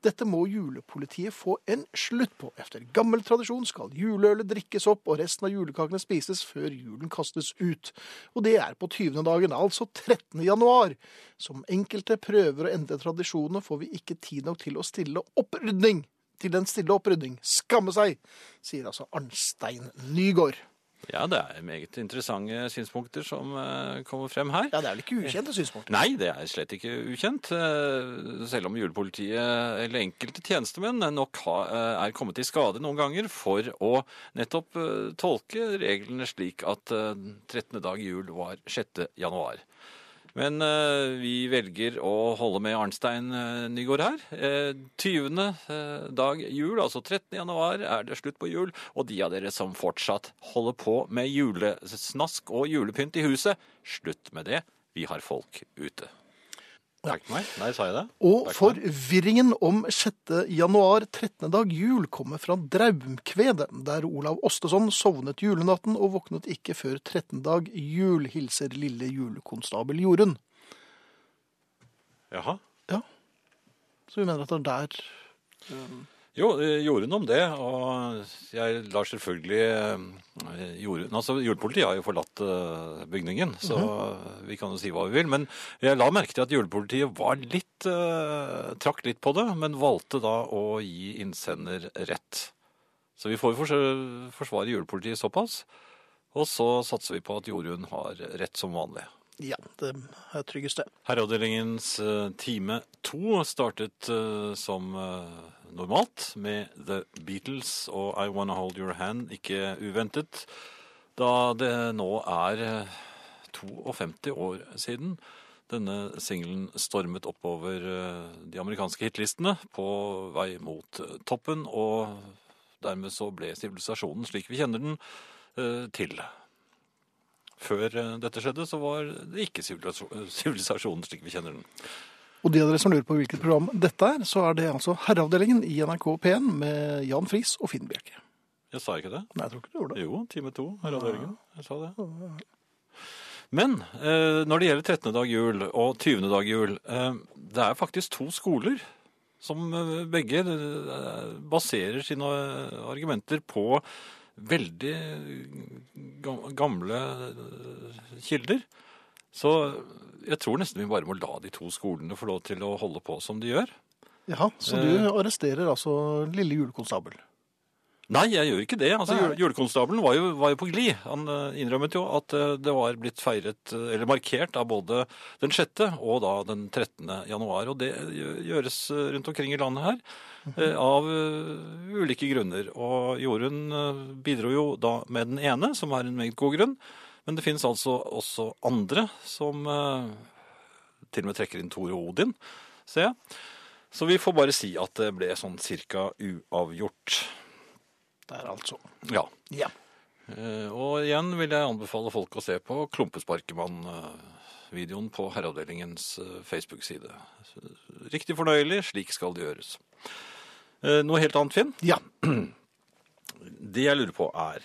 A: Dette må julepolitiet få en slutt på. Efter gammel tradisjon skal juleølet drikkes opp og resten av julekakene spises før julen kastes ut. Og det er på 20. dagen, altså 13. januar. Som enkelte prøver å endre tradisjonene, får vi ikke tid nok til å stille opprydning. Til en stille opprydning. Skamme seg, sier altså Arnstein Nygaard.
B: Ja, det er meget interessante synspunkter som eh, kommer frem her.
A: Ja, det er vel ikke ukjente synspunkter?
B: Nei, det er slett ikke ukjent. eh, Selv om julepolitiet, eller enkelte tjenestemenn, nok ha- eh, er kommet i skade noen ganger for å nettopp eh, tolke reglene slik at eh, 13. dag jul var 6. januar. Men eh, vi velger å holde med Arnstein eh, Nygaard her. Eh, 20. eh, dag jul, altså 13. januar, er det slutt på jul. Og de av dere som fortsatt holder på med julesnask og julepynt i huset, slutt med det. Vi har folk ute. Takk meg. Nei, sa jeg det?
A: Og forvirringen om 6. januar 13. dag jul kommer fra Draumkvedet, der Olav Osteson sovnet julenatten og våknet ikke før 13. dag jul, hilser lille julekonstabel Jorunn.
B: Jaha.
A: Ja, så vi mener at det er der
B: Jo, eh, gjorde noe om det, og jeg lar selvfølgelig eh, gjorde, altså, Julepolitiet har jo forlatt eh, bygningen, så vi kan jo si hva vi vil. Men jeg la merke til at julepolitiet var litt eh, trakk litt på det, men valgte da å gi innsender rett. Så vi får jo fors- forsvare julepolitiet såpass. Og så satser vi på at Jorunn har rett som vanlig.
A: Ja, det er tryggest, det.
B: Herreavdelingens eh, time to startet eh, som eh, normalt med The Beatles og I Wanna Hold Your Hand, ikke uventet, da det nå er eh, 52 år siden denne singelen stormet oppover eh, de amerikanske hitlistene på vei mot eh, toppen, og dermed så ble sivilisasjonen slik vi kjenner den eh, til. Før eh, dette skjedde, så var det ikke sivilisasjon- sivilisasjonen slik vi kjenner den.
A: Og de av dere som lurer på hvilket program dette er, så er det altså Herreavdelingen i NRK P1 med Jan Friis og Finn Bjerke.
B: Jeg sa ikke det?
A: Nei, jeg tror ikke du gjorde det.
B: Jo, time to her hadde Jørgen. Jeg sa det. Men eh, når det gjelder 13. dag jul og 20. dag jul, eh, det er faktisk to skoler som eh, begge eh, baserer sine eh, argumenter på veldig ga- gamle eh, kilder. Så jeg tror nesten vi bare må la de to skolene få lov til å holde på som de gjør.
A: Jaha, så du arresterer altså lille julekonstabel.
B: Nei, jeg gjør ikke det. Altså,
A: Nei.
B: jule- Julekonstabelen var jo, var jo på glid. Han eh, innrømmet jo at eh, det var blitt feiret, eh, eller markert, av både den 6. og da den 13. januar. Og det gjø- gjøres eh, rundt omkring i landet her eh, av eh, ulike grunner. Og Jorunn eh, bidro jo da med den ene, som er en meget god grunn. Men det finnes altså også andre som eh, til og med trekker inn Tore Odin, ser jeg. Så vi får bare si at det ble sånn cirka uavgjort.
A: Der, altså.
B: Ja.
A: Ja.
B: Eh, Og igjen vil jeg anbefale folk å se på Klumpesparkemann-videoen på Herreavdelingens eh, Facebook-side. Riktig fornøyelig, slik skal det gjøres. Eh, Noe helt annet, Finn?
A: Ja.
B: Det jeg lurer på er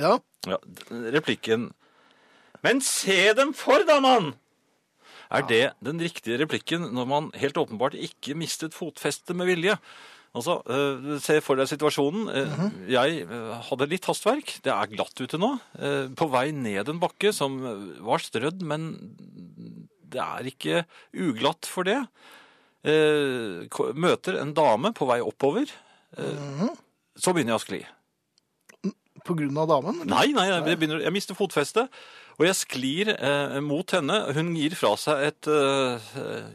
A: ja.
B: ja, d- replikken Men se dem for, da, mann! Er det den riktige replikken når man helt åpenbart ikke mistet fotfestet med vilje? Altså, eh, se for deg situasjonen. Eh, Jeg eh, hadde litt hastverk. Det er glatt ute nå. Eh, på vei ned en bakke som eh, var strødd, men det er ikke uglatt for det. Eh, ko- møter en dame på vei oppover. Eh, Så begynner jeg å skli.
A: På grunn av damen? eller?
B: Nei, nei, jeg, begynner, jeg mister fotfestet. Og jeg sklir eh, mot henne. Hun gir fra seg et eh,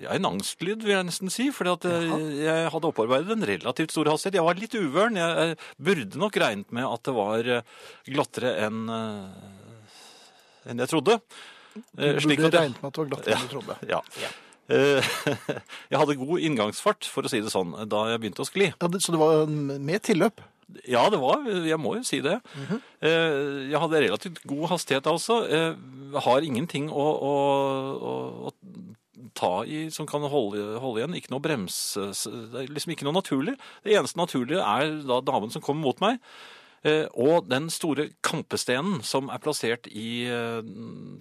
B: ja, en angstlyd, vil jeg nesten si. For jeg hadde opparbeidet en relativt stor hastighet. Jeg var litt uvøren. Jeg eh, burde nok regnet med at det var eh, glattere enn eh, enn jeg trodde. Eh,
A: Du
B: slik
A: burde
B: at jeg-
A: regnet med at det var glatt enn du trodde.
B: ja. Eh, jeg hadde god inngangsfart, for å si det sånn, da jeg begynte å skli.
A: Ja, det, så det var eh, med tilløp?
B: Ja, det var. Jeg må jo si det. Eh, Jeg hadde relativt god hastighet altså. Jeg har ingenting å, å, å, å ta i som kan holde, holde igjen. Ikke noe bremse. Det er liksom ikke noe naturlig. Det eneste naturlige er da damen som kommer mot meg. Eh, Og den store kampestenen som er plassert i eh,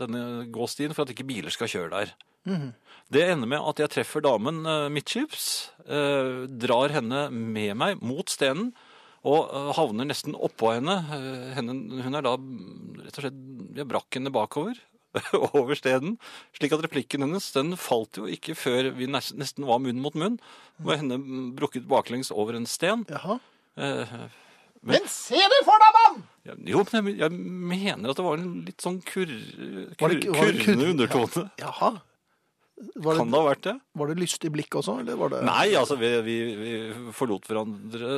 B: denne gåstien for at ikke biler skal kjøre der. Det ender med at jeg treffer damen eh, midtskips, eh, drar henne med meg mot stenen og eh, havner nesten oppå henne. Eh, henne. Hun er da mm, rett og slett Jeg brakk henne bakover. over steden, slik at replikken hennes den falt jo ikke før vi nes- nesten var munn mot munn, med henne mm, brukket baklengs over en sten.
A: Jaha.
B: Eh,
A: Men se det for deg, mann!
B: ja, Jo, men jeg, jeg mener at det var en litt sånn kur, kur,
A: Var det ikke- var det kurre-
B: kurrende undertone.
A: Jaha. Var
B: Kan
A: det,
B: det ha vært det?
A: var det lystig blikk også, eller var det
B: Nei, altså, vi, vi, vi forlot hverandre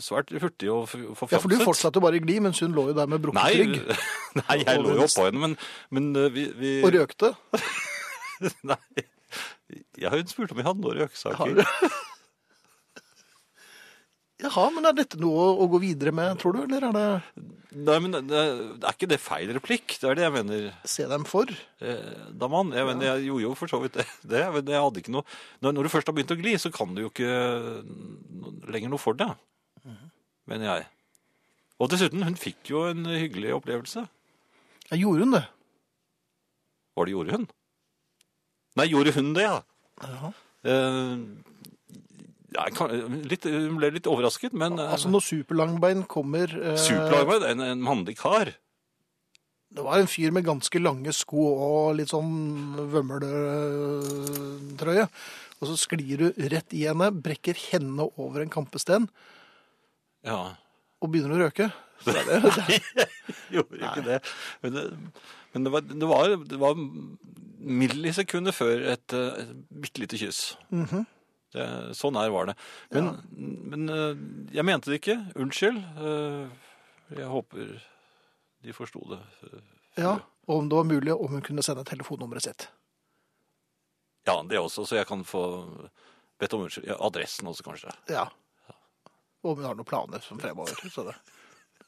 B: svært hurtig og f- forfjamset.
A: Ja, for du fortsatte jo bare i gli, mens hun lå jo der med brukket rygg
B: Nei, nei, jeg lå jo oppå henne, men, men eh, vi, vi
A: og røkte.
B: Nei. Jeg har jo spurt om jeg hadde noen røyksaker.
A: Jaha, men er dette noe å- å gå videre med, tror du, eller er det
B: Nei, men eh, det, det er ikke det feil replikk? Det er det jeg mener,
A: se dem for?
B: eh, Daman. Jeg, mener, jeg gjorde jo for så vidt det. det men jeg hadde ikke noe. Når, når du først har begynt å gli, så kan du jo ikke no- lenger noe for deg.
A: Mhm.
B: Mener jeg. Og dessuten, hun fikk jo en hyggelig opplevelse.
A: Ja, gjorde hun det?
B: Var det gjorde hun? Nei, gjorde hun det, ja?
A: Jaha.
B: Eh, ja, kan- litt, hun ble litt overrasket, men eh,
A: Altså, når superlangbein kommer eh,
B: Superlarmen, en, en mannlig kar.
A: Det var en fyr med ganske lange sko og litt sånn vømmeltrøye. Og så sklir du rett i henne, brekker henne over en kampesten
B: Ja.
A: og begynner å røke.
B: Gjorde ikke det. Men, det, men det, var, det, var, det var millisekunder før et, eh, et bitte lite kyss. det, så nær var det. Men, men eh, jeg mente det ikke. Unnskyld. Eh, jeg håper de forsto det.
A: Ja, Og om det var mulig, om hun kunne sende telefonnummeret sitt.
B: Ja, det også, så jeg kan få bedt om unnskyld. Ja, adressen også, kanskje.
A: Ja. Og om hun har noen planer som fremover. Så det,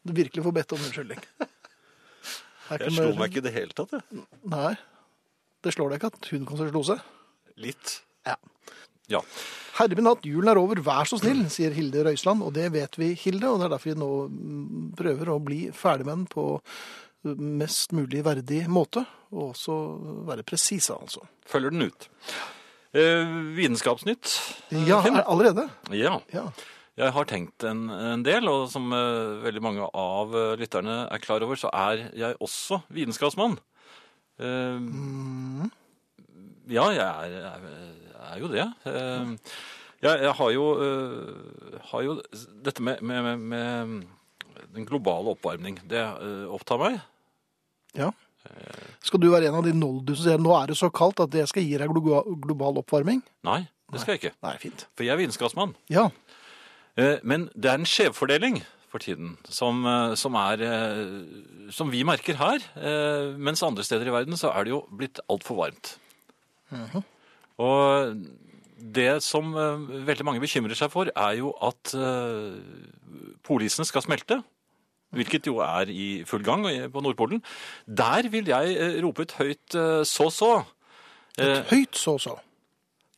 A: du virkelig får bedt om unnskyldning. Det er ikke
B: Jeg slo
A: mer-
B: meg ikke i det hele tatt, jeg.
A: Nei. Det slår deg ikke at hun kan slo seg.
B: Litt.
A: Ja.
B: Ja.
A: Herre min hatt, julen er over, vær så snill, sier Hilde Røisland. Og det vet vi, Hilde, og det er derfor vi nå mm, prøver å bli ferdig med den på mest mulig verdig måte. Og også være presise, altså.
B: Følger den ut. Eh, vitenskapsnytt. eh,
A: Ja,
B: Finn?
A: er- allerede?
B: ja.
A: Ja.
B: Jeg har tenkt en, en del, og som eh, veldig mange av eh, lytterne er klar over, så er jeg også vitenskapsmann. Eh, Ja, jeg er, er, er jo det. Eh, Jeg, jeg har, jo, øh, har jo dette med, med, med, med den globale oppvarmning. Det øh, opptar meg.
A: Ja.
B: Eh.
A: Skal du være en av de noldu som sier nå er det så kaldt at jeg skal gi deg globa- global oppvarming?
B: Nei, det skal jeg ikke.
A: Nei, fint.
B: For jeg er vitenskapsmann.
A: Ja.
B: Eh, Men det er en skjevfordeling for tiden som, eh, som, er, eh, som vi merker her. eh, Mens andre steder i verden så er det jo blitt altfor varmt. Og det som eh, veldig mange bekymrer seg for, er jo at eh, polisen skal smelte. Hvilket jo er i full gang eh, på Nordpolen. Der vil jeg eh, rope ut høyt eh, så så. Eh,
A: Høyt så så.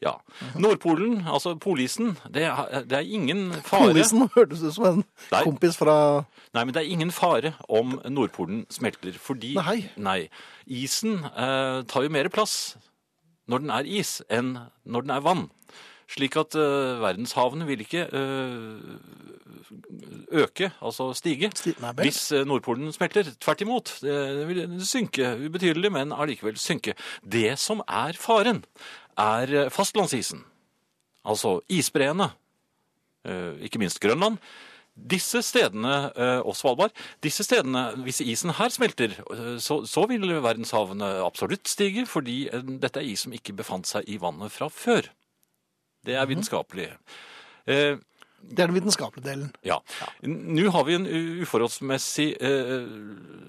B: ja. Nordpolen, altså polisen, det er, det er ingen fare
A: Polisen hørtes ut som en
B: Nei.
A: kompis fra
B: Nei, men det er ingen fare om Nordpolen smelter, fordi
A: Nei.
B: nei, isen eh, tar jo mer plass når den er is enn når den er vann. Slik at eh, verdenshavene vil ikke eh, øke, altså stige,
A: Sti- Nei, vel.
B: hvis eh, Nordpolen smelter. Tvert imot. Det vil synke ubetydelig, men allikevel synke. Det som er faren, er eh, fastlandsisen. Altså isbreene. eh, Ikke minst Grønland. Disse stedene, eh, og Svalbard, disse stedene, hvis isen her smelter, eh, så, så vil verdenshavene absolutt stige, fordi eh, dette er is som ikke befant seg i vannet fra før. Det er vitenskapelig. Eh,
A: Det er den vitenskapelige delen.
B: ja. N- Nå har vi en u- uforholdsmessig eh,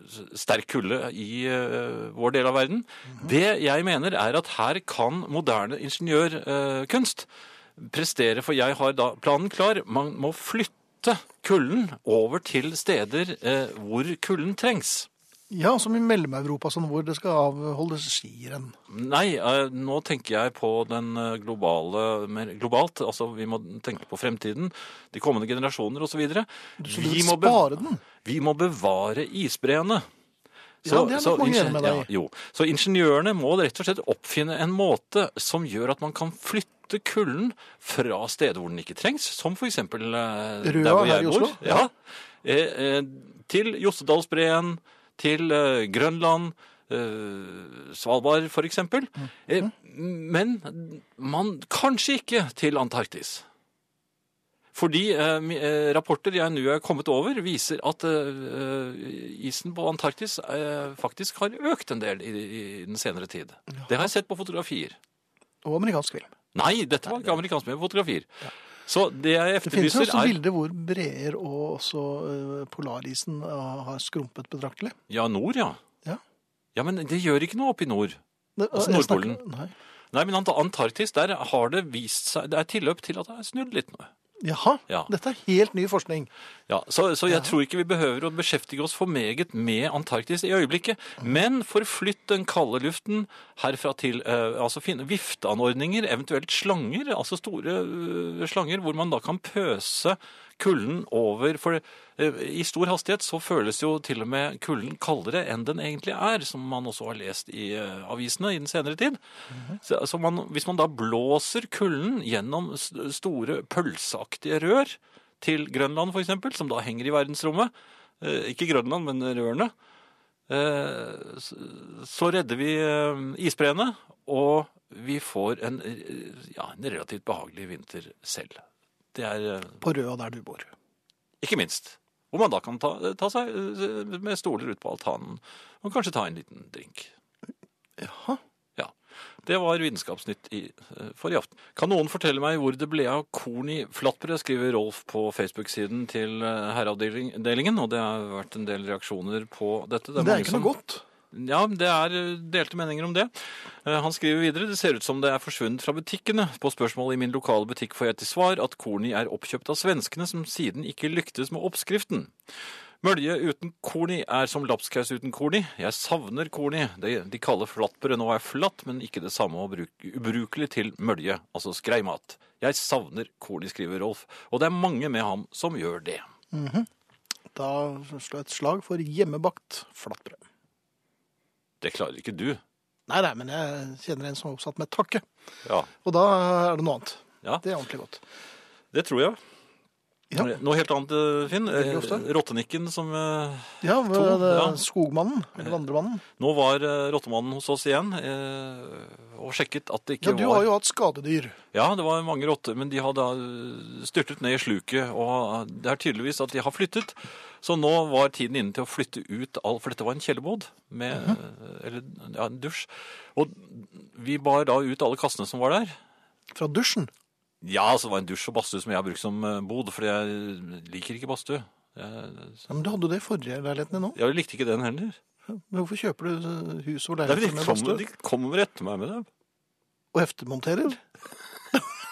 B: s- sterk kulde i eh, vår del av verden. Det jeg mener er at her kan moderne ingeniørkunst eh, prestere, for jeg har da planen klar. Man må flytte kulden over til steder eh, hvor kulden trengs.
A: Ja, som i Mellom-Europa, sånn hvor det skal avholdes skirenn.
B: Nei, eh, nå tenker jeg på den eh, globale mer globalt. Altså, vi må tenke på fremtiden, de kommende generasjoner osv.
A: Så du vil spare den?
B: Vi må bevare isbreene.
A: Ja, det er nok mange enig med deg i.
B: jo. så ingeniørene må rett og slett oppfinne en måte som gjør at man kan flytte kulden fra steder hvor den ikke trengs, som for eksempel eh,
A: Røa
B: der hvor
A: her
B: jeg
A: i
B: bor.
A: Oslo?
B: Ja. Eh, eh, til Jostedalsbreen, til eh, Grønland, eh, Svalbard for eksempel.
A: Mm.
B: Eh, men man kanskje ikke til Antarktis. Fordi eh, mi- eh, rapporter jeg nå er kommet over, viser at eh, eh, isen på Antarktis eh, faktisk har økt en del i, i den senere tid. Det har jeg sett på fotografier.
A: Og amerikansk film.
B: Nei, dette var ikke amerikansk med fotografier. Så det jeg
A: Det finnes jo
B: efterlyser
A: også
B: er
A: bilder hvor breer og også eh, polarisen eh, har skrumpet betraktelig.
B: Ja, nord, ja.
A: Ja.
B: Ja, men det gjør ikke noe oppe i nord.
A: Det,
B: Altså
A: jeg snakker-
B: Nordpolen.
A: Nei.
B: Nei, men Ant- Antarktis, der har det vist seg Det er tilløp til at det er snudd litt nå.
A: Jaha,
B: Ja.
A: dette er helt ny forskning.
B: Ja, så, så jeg tror ikke vi behøver å beskjeftige oss for meget med Antarktis i øyeblikket. Men forflytt den kalde luften herfra til eh, altså finne vifteanordninger, eventuelt slanger, altså store eh, slanger, hvor man da kan pøse kulden over. For eh, i stor hastighet så føles jo til og med kulden kaldere enn den egentlig er, som man også har lest i eh, avisene i den senere tid. Så, så man, hvis man da blåser kulden gjennom s- store pølseaktige rør til Grønland for eksempel, som da henger i verdensrommet, eh, ikke Grønland, men rørene, eh, s- så redder vi eh, isbreene, og vi får en, eh, ja, en relativt behagelig vinter selv. Det er eh,
A: På Røa der du bor.
B: ikke minst. Hvor man da kan ta, ta seg eh, med stoler ut på altanen, og kanskje ta en liten drink.
A: Jaha.
B: Ja. Det var Vitenskapsnytt i, eh, for i aften. Kan noen fortelle meg hvor det ble av korn i flatbrød, skriver Rolf på Facebook-siden til eh, herreavdelingen. Og det har vært en del reaksjoner på dette.
A: Det er,
B: mange
A: ikke
B: som-
A: noe godt.
B: ja, det er eh, delte meninger om det. Eh, Han skriver videre det ser ut som det er forsvunnet fra butikkene. På spørsmål i min lokale butikk får jeg til svar at kornet er oppkjøpt av svenskene, som siden ikke lyktes med oppskriften. Mølje uten korn i er som lapskaus uten korn i. Jeg savner korn i. De, de kaller flatbrød nå er flatt, men ikke det samme og bruk, ubrukelig til mølje, altså skreimat. Jeg savner korn i, skriver Rolf. Og det er mange med ham som gjør det.
A: Da slår jeg et slag for hjemmebakt flatbrød.
B: Det klarer ikke du.
A: Nei, nei, men jeg kjenner en som er oppsatt med takke.
B: Ja.
A: Og da er det noe annet.
B: Ja.
A: Det er ordentlig godt.
B: Det tror jeg.
A: Ja.
B: Noe helt annet, eh, Finn. Eh,
A: Veldig ofte.
B: Rottenikken som eh,
A: Ja, hva
B: To,
A: er det,
B: ja.
A: Skogmannen, eller Vandremannen.
B: Nå var eh, rottemannen hos oss igjen eh, og sjekket at det
A: Ja,
B: ikke
A: du
B: var
A: har jo hatt skadedyr.
B: Ja, det var mange rotter, men de har da eh, styrtet ned i sluket. Og eh, det er tydeligvis at de har flyttet. Så nå var tiden inne til å flytte ut all For dette var en kjellerbod med
A: Mhm.
B: eh, Eller ja, en dusj. Og vi bar da ut alle kassene som var der.
A: Fra dusjen.
B: Ja, altså det var en dusj og badstue som jeg har brukt som eh, bod, for jeg liker ikke badstue. Jeg,
A: Ja, men du hadde jo det i forrige leiligheten din òg.
B: jeg likte ikke den heller.
A: Men Hvorfor kjøper du eh, hus og
B: Det er fordi
A: leiligheter
B: de
A: med
B: kommer,
A: badstue
B: de kommer etter meg med det.
A: og heftemonterer?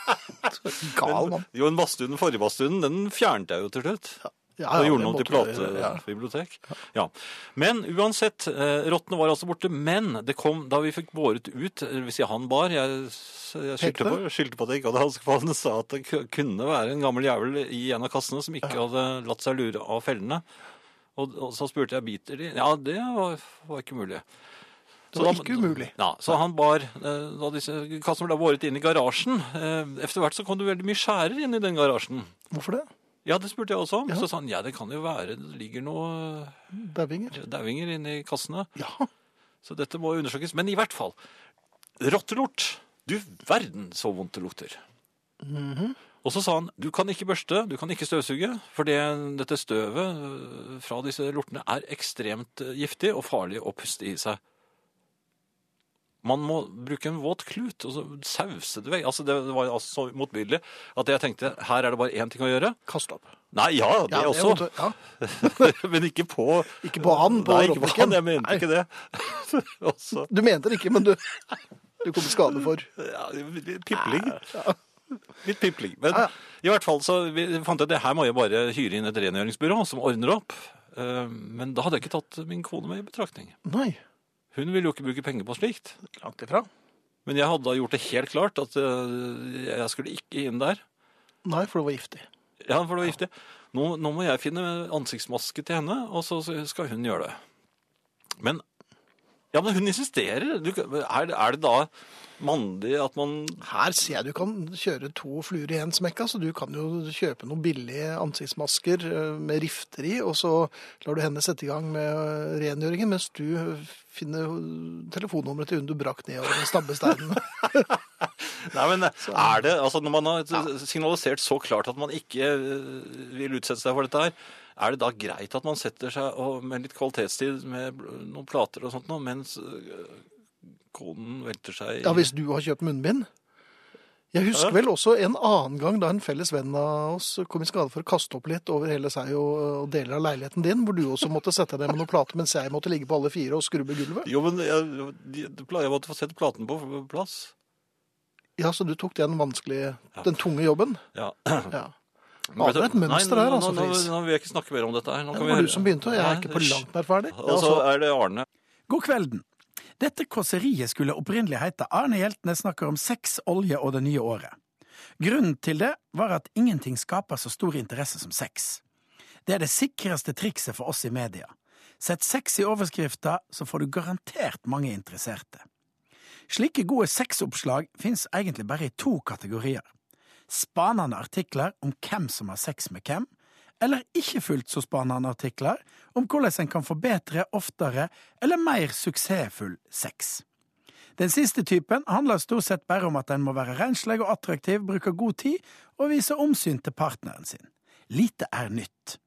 A: Gal mann.
B: Jo, en badstue, den forrige badstuen, den fjernet jeg jo til slutt.
A: Ja, ja,
B: Og gjorde
A: det
B: noe til
A: måtte du gjøre, ja.
B: platebibliotek. Ja. Men uansett, eh, rottene var altså borte. Men det kom, da vi fikk båret ut, eller hvis jeg han bar Jeg, jeg skyldte, på,
A: Pekte?
B: skyldte på at jeg ikke hadde halsbånd, og sa at det ku- kunne være en gammel jævel i en av kassene som ikke hadde latt seg lure av fellene. Og, og så spurte jeg biter de. Ja, det var, var ikke mulig.
A: Det var ikke umulig.
B: Ja, så han bar eh, da disse kassene ble båret inn i garasjen. Eh, Etter hvert så kom det veldig mye skjærer inn i den garasjen.
A: Hvorfor det?
B: Ja, det spurte jeg også om.
A: Ja.
B: Så sa han ja, det kan jo være det ligger noe
A: Dauinger?
B: dauinger inni kassene.
A: Ja.
B: Så dette må undersøkes. Men i hvert fall. Rottelort. Du verden så vondt det lukter. Og så sa han du kan ikke børste, du kan ikke støvsuge, for det, dette støvet øh, fra disse lortene er ekstremt øh, giftig og farlig å puste i seg. Man må bruke en våt klut og så sause det vekk. Altså, det var altså så motbydelig at jeg tenkte her er det bare én ting å gjøre.
A: Kast opp.
B: Nei, ja, det,
A: Ja, det
B: også.
A: måtte- ja.
B: Men ikke på
A: Ikke på han, på
B: Nei, ikke på han,
A: rottenikken.
B: jeg mente
A: Nei.
B: ikke det. også,
A: Du mente det ikke, men du, du kom i skade for.
B: ja, litt pipling. Litt pipling. Men i hvert fall så vi fant jeg at det her må jeg bare hyre inn et rengjøringsbyrå som ordner opp. Eh, Men da hadde jeg ikke tatt min kone med i betraktning.
A: Nei.
B: Hun ville jo ikke bruke penger på slikt.
A: Langt ifra.
B: Men jeg hadde da gjort det helt klart at eh, jeg skulle ikke inn der.
A: Nei, for det var giftig.
B: Ja, for det var giftig. Nå, nå må jeg finne ansiktsmaske til henne, og så skal hun gjøre det. Men, ja, men hun insisterer. Du, kan- er, det- er det da mandig at man
A: Her ser jeg du kan kjøre to fluer i en smekk. altså. Du kan jo kjøpe noen billige ansiktsmasker eh, med rifter i, og så lar du henne sette i gang med eh, rengjøringen mens du finner telefonnummeret til hun du brakk ned over den stabbesteinen.
B: Nei, men er det Altså, når man har signalisert så klart at man ikke eh, vil utsette seg for dette her, er det da greit at man setter seg og, med litt kvalitetstid med bl- noen plater og sånt nå, mens eh, konen velter seg i
A: Ja, hvis du har kjøpt munnbind. Jeg husker vel også en annen gang da en felles venn av oss kom i skade for å kaste opp litt over hele seg og, og deler av leiligheten din, hvor du også måtte sette deg ned med noen plater mens jeg måtte ligge på alle fire og skrubbe gulvet.
B: Jo, men jeg, de- de- jeg måtte få sette platen på plass.
A: Ja, så du tok den vanskelige,
B: Ja.
A: den tunge jobben.
B: Ja.
A: Ja. Ja, det er et mønster her, altså,
B: Nå, nå,
A: Friis.
B: nå vil jeg ikke snakke mer om dette her.
A: Ja,
B: Nå
A: det
B: kan vi
A: var du
B: høre-
A: som begynte, og jeg er
B: Nei,
A: ikke på
B: hysj.
A: langt nær Altså- ferdig.
B: Og så er det Arne.
D: God kvelden. Dette kåseriet skulle opprinnelig hete Arne Hjeltnes snakker om sex, olje og det nye året. Grunnen til det var at ingenting skaper så stor interesse som sex. Det er det sikreste trikset for oss i media. Sett sex i overskrifta, så får du garantert mange interesserte. Slike gode sexoppslag fins egentlig bare i to kategorier. Spanende artikler om hvem som har sex med hvem, eller ikke fullt så spanende artikler om hvordan en kan forbedre oftere eller mer suksessfull sex. Den siste typen handler stort sett bare om at en må være renslig og attraktiv, bruke god tid og vise omsyn til partneren sin. Lite er nytt.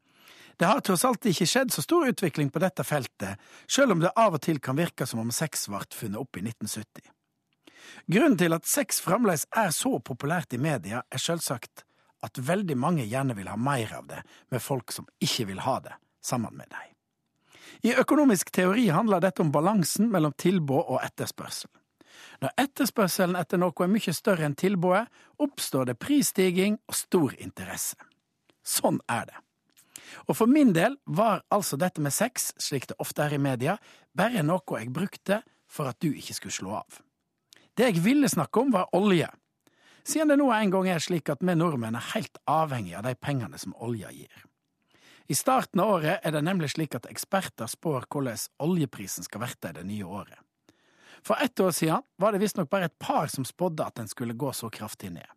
D: Det har tross alt ikke skjedd så stor utvikling på dette feltet, selv om det av og til kan virke som om sex ble funnet opp i 1970. Grunnen til at sex fremdeles er så populært i media, er selvsagt at veldig mange gjerne vil ha mer av det med folk som ikke vil ha det, sammen med dem. I økonomisk teori handler dette om balansen mellom tilbud og etterspørsel. Når etterspørselen etter noe er mye større enn tilbudet, oppstår det prisstigning og stor interesse. Sånn er det. Og for min del var altså dette med sex, slik det ofte er i media, bare noe jeg brukte for at du ikke skulle slå av. Det jeg ville snakke om, var olje. Siden det nå en gang er slik at vi nordmenn er helt avhengige av de pengene som olja gir. I starten av året er det nemlig slik at eksperter spår hvordan oljeprisen skal verte i det nye året. For ett år siden var det visstnok bare et par som spådde at den skulle gå så kraftig ned.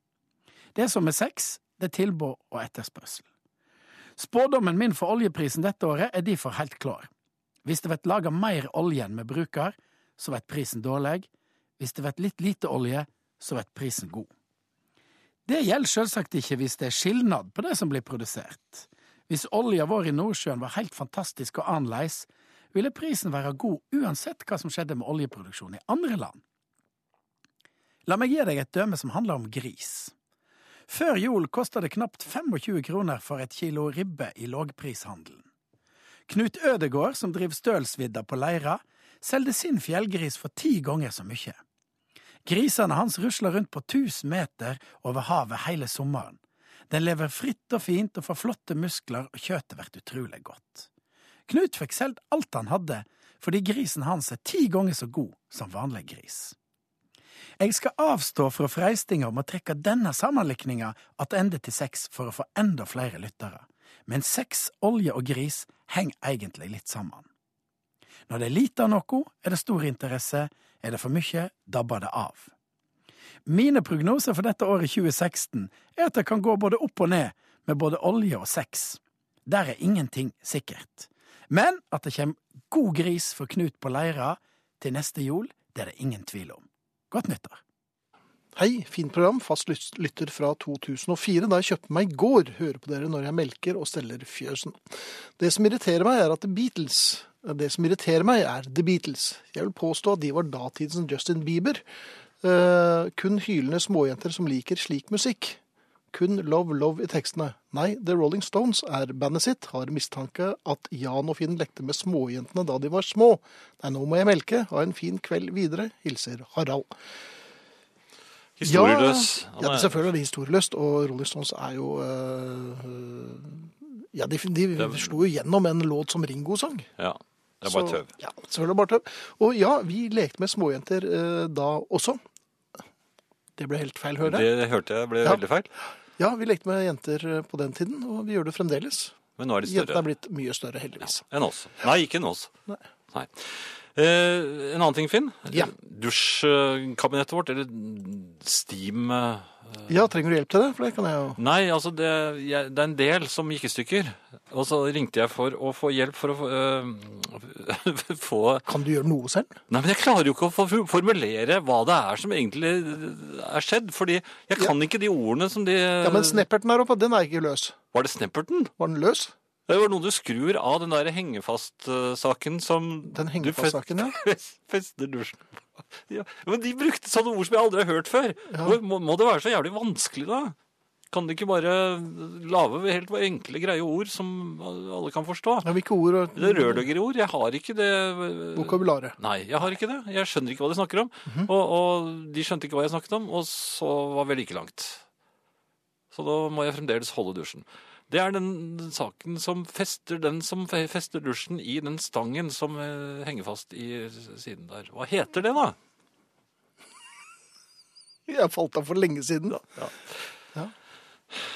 D: Det som er sex, det er tilbud og etterspørsel. Spådommen min for oljeprisen dette året er derfor helt klar. Hvis det vert laga meir olje enn vi brukar, så vert prisen dårleg. Hvis det vert litt lite olje, så vert prisen god. Det gjelder sjølvsagt ikke hvis det er skilnad på det som blir produsert. Hvis olja vår i Nordsjøen var helt fantastisk og annerleis, ville prisen være god uansett hva som skjedde med oljeproduksjon i andre land. La meg gi deg et døme som handler om gris. Før jul kosta det knapt 25 kroner for et kilo ribbe i lågprishandelen. Knut Ødegård, som driver Stølsvidda på Leira, selgde sin fjellgris for ti ganger så mye. Grisene hans rusler rundt på 1000 meter over havet hele sommeren. Den lever fritt og fint og får flotte muskler, og kjøttet blir utrolig godt. Knut fikk solgt alt han hadde, fordi grisen hans er ti ganger så god som vanlig gris. Jeg skal avstå fra freistinga om å trekke denne sammenlikninga attende til sex for å få enda flere lyttere, men sex, olje og gris henger egentlig litt sammen. Når det er lite av noe, er det stor interesse, er det for mye, dabber det av. Mine prognoser for dette året 2016 er at det kan gå både opp og ned med både olje og sex. Der er ingenting sikkert. Men at det kommer god gris for Knut på Leira til neste jul, det er det ingen tvil om. Godt nyttår.
A: Hei, fint program, fast lyt- lytter fra 2004, da jeg kjøpte meg i går. Hører på dere når jeg melker og steller fjøsen. Det som irriterer meg, er at The Beatles eh, Det som irriterer meg, er The Beatles. Jeg vil påstå at de var datidens Justin Bieber. Eh, kun hylende småjenter som liker slik musikk. Kun love, love i tekstene. Nei, The Rolling Stones er bandet sitt. Har mistanke at Jan og Finn lekte med småjentene da de var små. Nei, nå må jeg melke. Ha en fin kveld videre. Hilser Harald.
B: Historieløs.
A: Ja, ja, selvfølgelig er det historieløst, og Rolling Stones er jo øh, øh, Ja, de, de
B: Det-
A: slo jo gjennom en låt som Ringo sang.
B: ja. Det er bare
A: Så-
B: tøv.
A: Ja, selvfølgelig bare tøv. Og ja, vi lekte med småjenter øh, da også. Det ble helt feil, hører jeg.
B: Det hørte jeg ble
A: Ja.
B: veldig feil.
A: Ja, vi lekte med jenter øh, på den tiden, og vi gjør det fremdeles.
B: Men nå er de
A: Jentene
B: større
A: er blitt mye større, heldigvis.
B: enn oss. Nei, ikke enn oss.
A: Nei.
B: Nei. Eh, en annen ting, Finn.
A: Ja.
B: Dusjkabinettet vårt, eller Steam eh,
A: Ja, trenger du hjelp til det? For det kan jeg jo
B: Nei, altså det, jeg, det er en del som gikk i stykker. Og så ringte jeg for å få hjelp for å få, eh, få
A: Kan du gjøre noe selv?
B: Nei, men jeg klarer jo ikke å for- formulere hva det er som egentlig eh, er skjedd. Fordi jeg kan ikke de ordene som de
A: Ja, men snepperten her oppe, den er ikke løs.
B: Var det snepperten?
A: Var den løs?
B: Det var noe du skrur av den der hengefast-saken som
A: Den
B: du
A: henger
B: fest-
A: fast saken, ja.
B: fester dusjen på. Ja, men de brukte sånne ord som jeg aldri har hørt før. Hvor- Må, må det være så jævlig vanskelig, da? Kan de ikke bare lage helt enkle, greie ord som alle kan forstå?
A: Ja, Hvilke ord og
B: Det er rørleggerord. Jeg har ikke det eh,
A: vokabularet?
B: Nei, jeg har ikke det. Jeg skjønner ikke hva de snakker om.
A: Mhm.
B: og, og de skjønte ikke hva jeg snakket om, og så var vi like langt. Så da må jeg fremdeles holde dusjen. Det er den, den saken som fester den som fe- fester dusjen i den stangen som eh, henger fast i s- siden der. Hva heter det, da?
A: Jeg falt av for lenge siden.
B: ja.
A: Ja.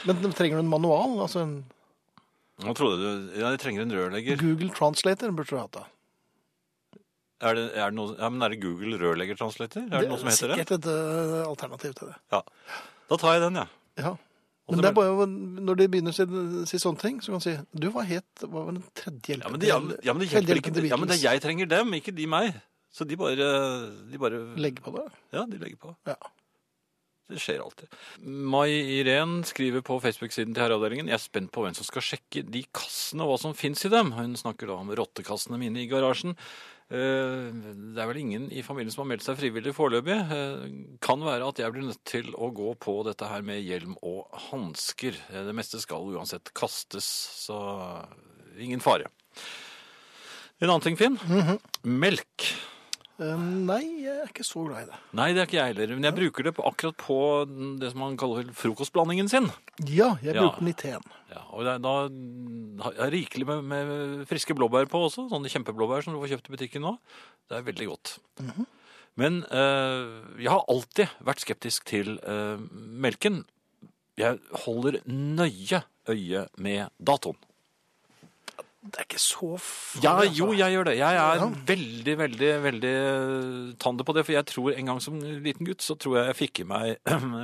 A: Men trenger du en manual? Altså en
B: Jeg trodde du ja, Jeg trenger en rørlegger.
A: Google Translator burde du hatt da.
B: Er det, er det, noe, ja, men er det Google rørleggertranslator? Er det, noe som heter det?
A: Sikkert et eh, alternativ til det.
B: Ja. Da tar jeg den, jeg. Ja.
A: Ja.
B: Og
A: Men det
B: det
A: er bare når de begynner å si, si sånne ting, så kan de si Du, hva het Hva var den tredje
B: Ja,
A: hjelpen
B: men, det- ja, men- ja, men det
A: tredje
B: hjelper
A: hjelpen til
B: ikke. Ja, men det
A: Beatles?
B: er jeg trenger dem, ikke de meg. Så de bare, de bare
A: Legge på det?
B: Ja, de legger på.
A: Ja.
B: Det skjer alltid. Mai Irén skriver på Facebook-siden til Herreavdelingen Jeg er spent på hvem som skal sjekke de kassene og hva som fins i dem. Hun snakker da om rottekassene mine i garasjen. Eh, Det er vel ingen i familien som har meldt seg frivillig foreløpig. Eh, Kan være at jeg blir nødt til å gå på dette her med hjelm og hansker. Eh, Det meste skal uansett kastes, så ingen fare. En annen ting, Finn. Melk.
A: Eh, nei, jeg er ikke så glad i det.
B: Nei, det er ikke jeg heller. Men jeg bruker det på, akkurat på det som man kaller frokostblandingen sin.
A: Ja, jeg
B: Ja.
A: bruker den i teen.
B: Ja, og det er, da har jeg rikelig med, med friske blåbær på også. Sånne kjempeblåbær som du får kjøpt i butikken nå. Det er veldig godt. Men eh, jeg har alltid vært skeptisk til eh, melken. Jeg holder nøye øye med datoen.
A: Det er ikke så farlig.
B: Ja,
A: altså.
B: jo, jeg gjør det. Jeg er
A: Ja.
B: veldig, veldig, veldig tande på det. For jeg tror en gang som liten gutt så tror jeg jeg fikk i meg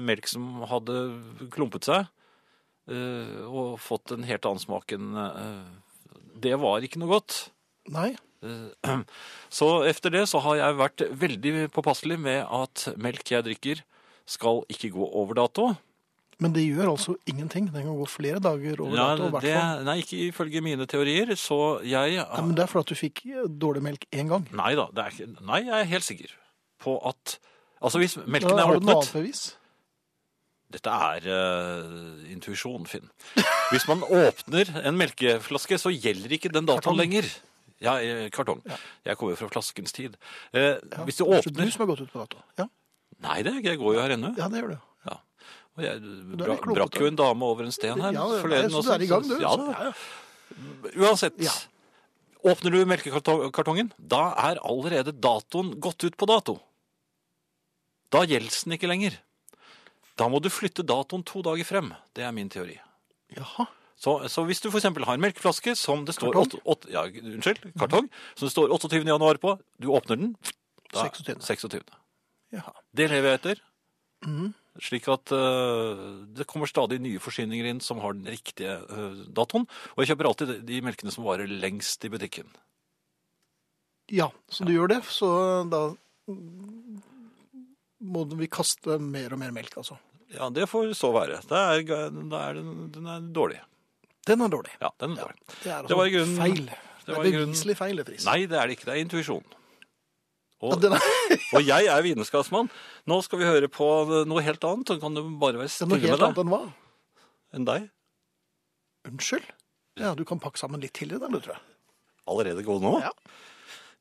B: melk som hadde klumpet seg. eh, og fått en helt annen smak enn eh, Det var ikke noe godt.
A: Nei.
B: Eh, Så efter det så har jeg vært veldig påpasselig med at melk jeg drikker skal ikke gå over dato.
A: Men det gjør altså ingenting. Den kan gå flere dager over
B: Ja,
A: dato. i hvert
B: det,
A: fall.
B: nei, ikke ifølge mine teorier, så jeg
A: Nei, men det er fordi at du fikk dårlig melk én gang.
B: Nei da, det er ikke Nei, jeg er helt sikker på at Altså, hvis melken
A: Da
B: er
A: har du noe
B: åpnet
A: annet bevis.
B: Dette er eh, intuisjon, Finn. Hvis man åpner en melkeflaske, så gjelder ikke den datoen
A: Kartong.
B: lenger. Ja, eh, kartong. Jeg kommer jo fra flaskens tid. Eh,
A: Ja.
B: Hvis du
A: Kanskje
B: åpner
A: Du som har gått ut på dato. Ja,
B: Nei, det er ikke, jeg går jo her ennå.
A: ja det gjør du.
B: Ja. Og jeg
A: er
B: bra,
A: litt klokete.
B: brakk jo en dame over en sten
A: Ja,
B: her
A: det- altså.
B: forleden.
A: nei, så
B: også,
A: du er i gang, du.
B: Ja,
A: Så-
B: da. Uansett.
A: Ja.
B: Åpner du melkekartongen, da er allerede datoen gått ut på dato. Da gjelder den ikke lenger. Da må du flytte datoen to dager frem. Det er min teori.
A: Jaha.
B: Så, så hvis du for eksempel har en melkeflaske som det står,
A: Kartong?
B: åtte- åtte- ja, unnskyld, kartong, som det står 28. januar på, du åpner den, da
A: 26..
B: 26.
A: Jaha.
B: Det lever jeg etter. Mm-hmm. Slik at øh, det kommer stadig nye forsyninger inn som har den riktige øh, datoen. Og jeg kjøper alltid de- de melkene som varer lengst i butikken.
A: Ja, så du gjør det, så da må vi kaste mer og mer melk, altså.
B: Ja, det får så være. Da er, da er den, den er dårlig.
A: Den er dårlig.
B: Ja, den er dårlig.
A: Det er altså
B: Det var i grunnen-
A: feil.
B: det
A: Det
B: var
A: er
B: i grunnen-
A: beviselig feil, det, Friis.
B: Nei, det er det ikke. Det er intuisjon.
A: Ja,
B: Og,
A: den er,
B: og jeg er vineskapsmann. Nå skal vi høre på noe helt annet. Så kan du bare være
A: det er
B: stille
A: noe helt
B: med
A: annet
B: deg
A: enn hva?
B: enn deg.
A: Unnskyld? Ja, du kan pakke sammen litt tidligere, da, du, tror jeg.
B: Allerede god nå?
A: Ja.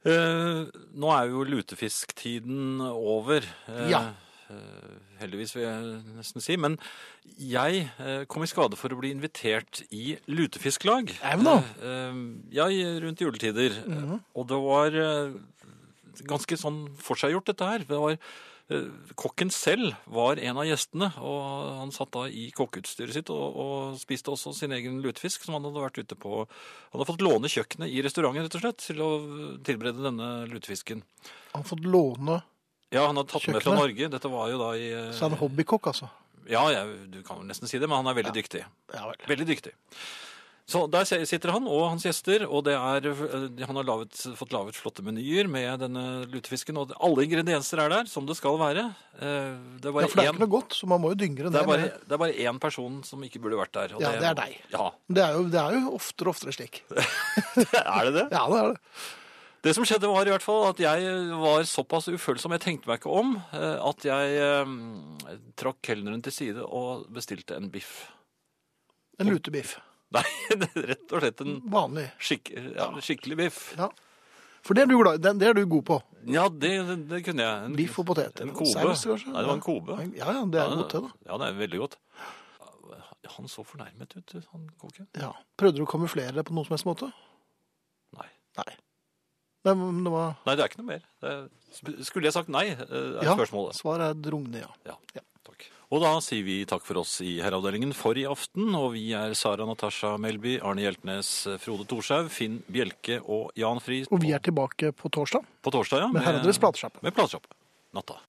B: Eh, nå er jo lutefisktiden over. eh,
A: Ja.
B: eh, heldigvis, vil jeg nesten si. Men jeg eh, kom i skade for å bli invitert i lutefisklag.
A: Au nå.
B: Eh, eh, ja, i- rundt juletider.
A: Mhm.
B: Og det var eh, ganske sånn forseggjort, dette her. Det var, eh, kokken selv var en av gjestene, og han satt da i kokkeutstyret sitt og, og spiste også sin egen lutefisk, som han hadde vært ute på Han hadde fått låne kjøkkenet i restauranten, rett og slett, til å tilberede denne lutefisken.
A: Han har fått låne
B: Ja, han hadde tatt med fra
A: Kjøkkenet?
B: Norge. Dette var jo da i eh,
A: Så er han hobbykokk, altså.
B: Ja, jeg, du kan jo nesten si det, men han er veldig dyktig.
A: Ja vel.
B: Veldig dyktig. Så der se- sitter han og hans gjester, og det er, eh, han har lavet, fått laget flotte menyer med denne lutefisken, og alle ingredienser er der, som det skal være. Eh, Det
A: Ja,
B: er bare,
A: for det er ikke
B: én,
A: noe godt, så man må jo dyngre
B: det er bare,
A: med-
B: det er bare én person som ikke burde vært der. og
A: Ja, det er deg.
B: Ja,
A: Det er, jo, det er jo oftere og oftere slik.
B: er det det?
A: Ja, det er det.
B: Det som skjedde var i hvert fall at jeg var såpass ufølsom, jeg tenkte meg ikke om, eh, at jeg eh, trakk kelneren til side og bestilte en biff.
A: En lutebiff.
B: Nei, rett og slett en
A: Vanlig.
B: skikk, ja, skikkelig biff.
A: Ja. For det er du, glad, det, det er du god på.
B: Ja, det, det kunne jeg. En,
A: Biff og potet.
B: En kobe.
A: Saus, kanskje?
B: Nei, det var en kobe.
A: Ja, ja, det er godt, det, da.
B: Ja, det er veldig godt. Han så fornærmet ut, han kokken.
A: Ja. Prøvde du å kamuflere det på noen som helst måte?
B: Nei.
A: Nei. Det, men det var
B: Nei, det er ikke noe mer. Det er, sp- skulle jeg sagt nei, eh, er
A: ja,
B: spørsmålet.
A: Svaret er drugne, ja.
B: Ja,
A: Ja.
B: takk. Og da sier vi takk for oss i Herreavdelingen for i aften, og vi er Sara Natasha Melby, Arne Hjeltnes, Frode Torshaug, Finn Bjelke og Jan Friis
A: Og vi er tilbake på torsdag
B: på torsdag, ja.
A: med Herredres platesjappe.
B: Med platesjappe. Natta.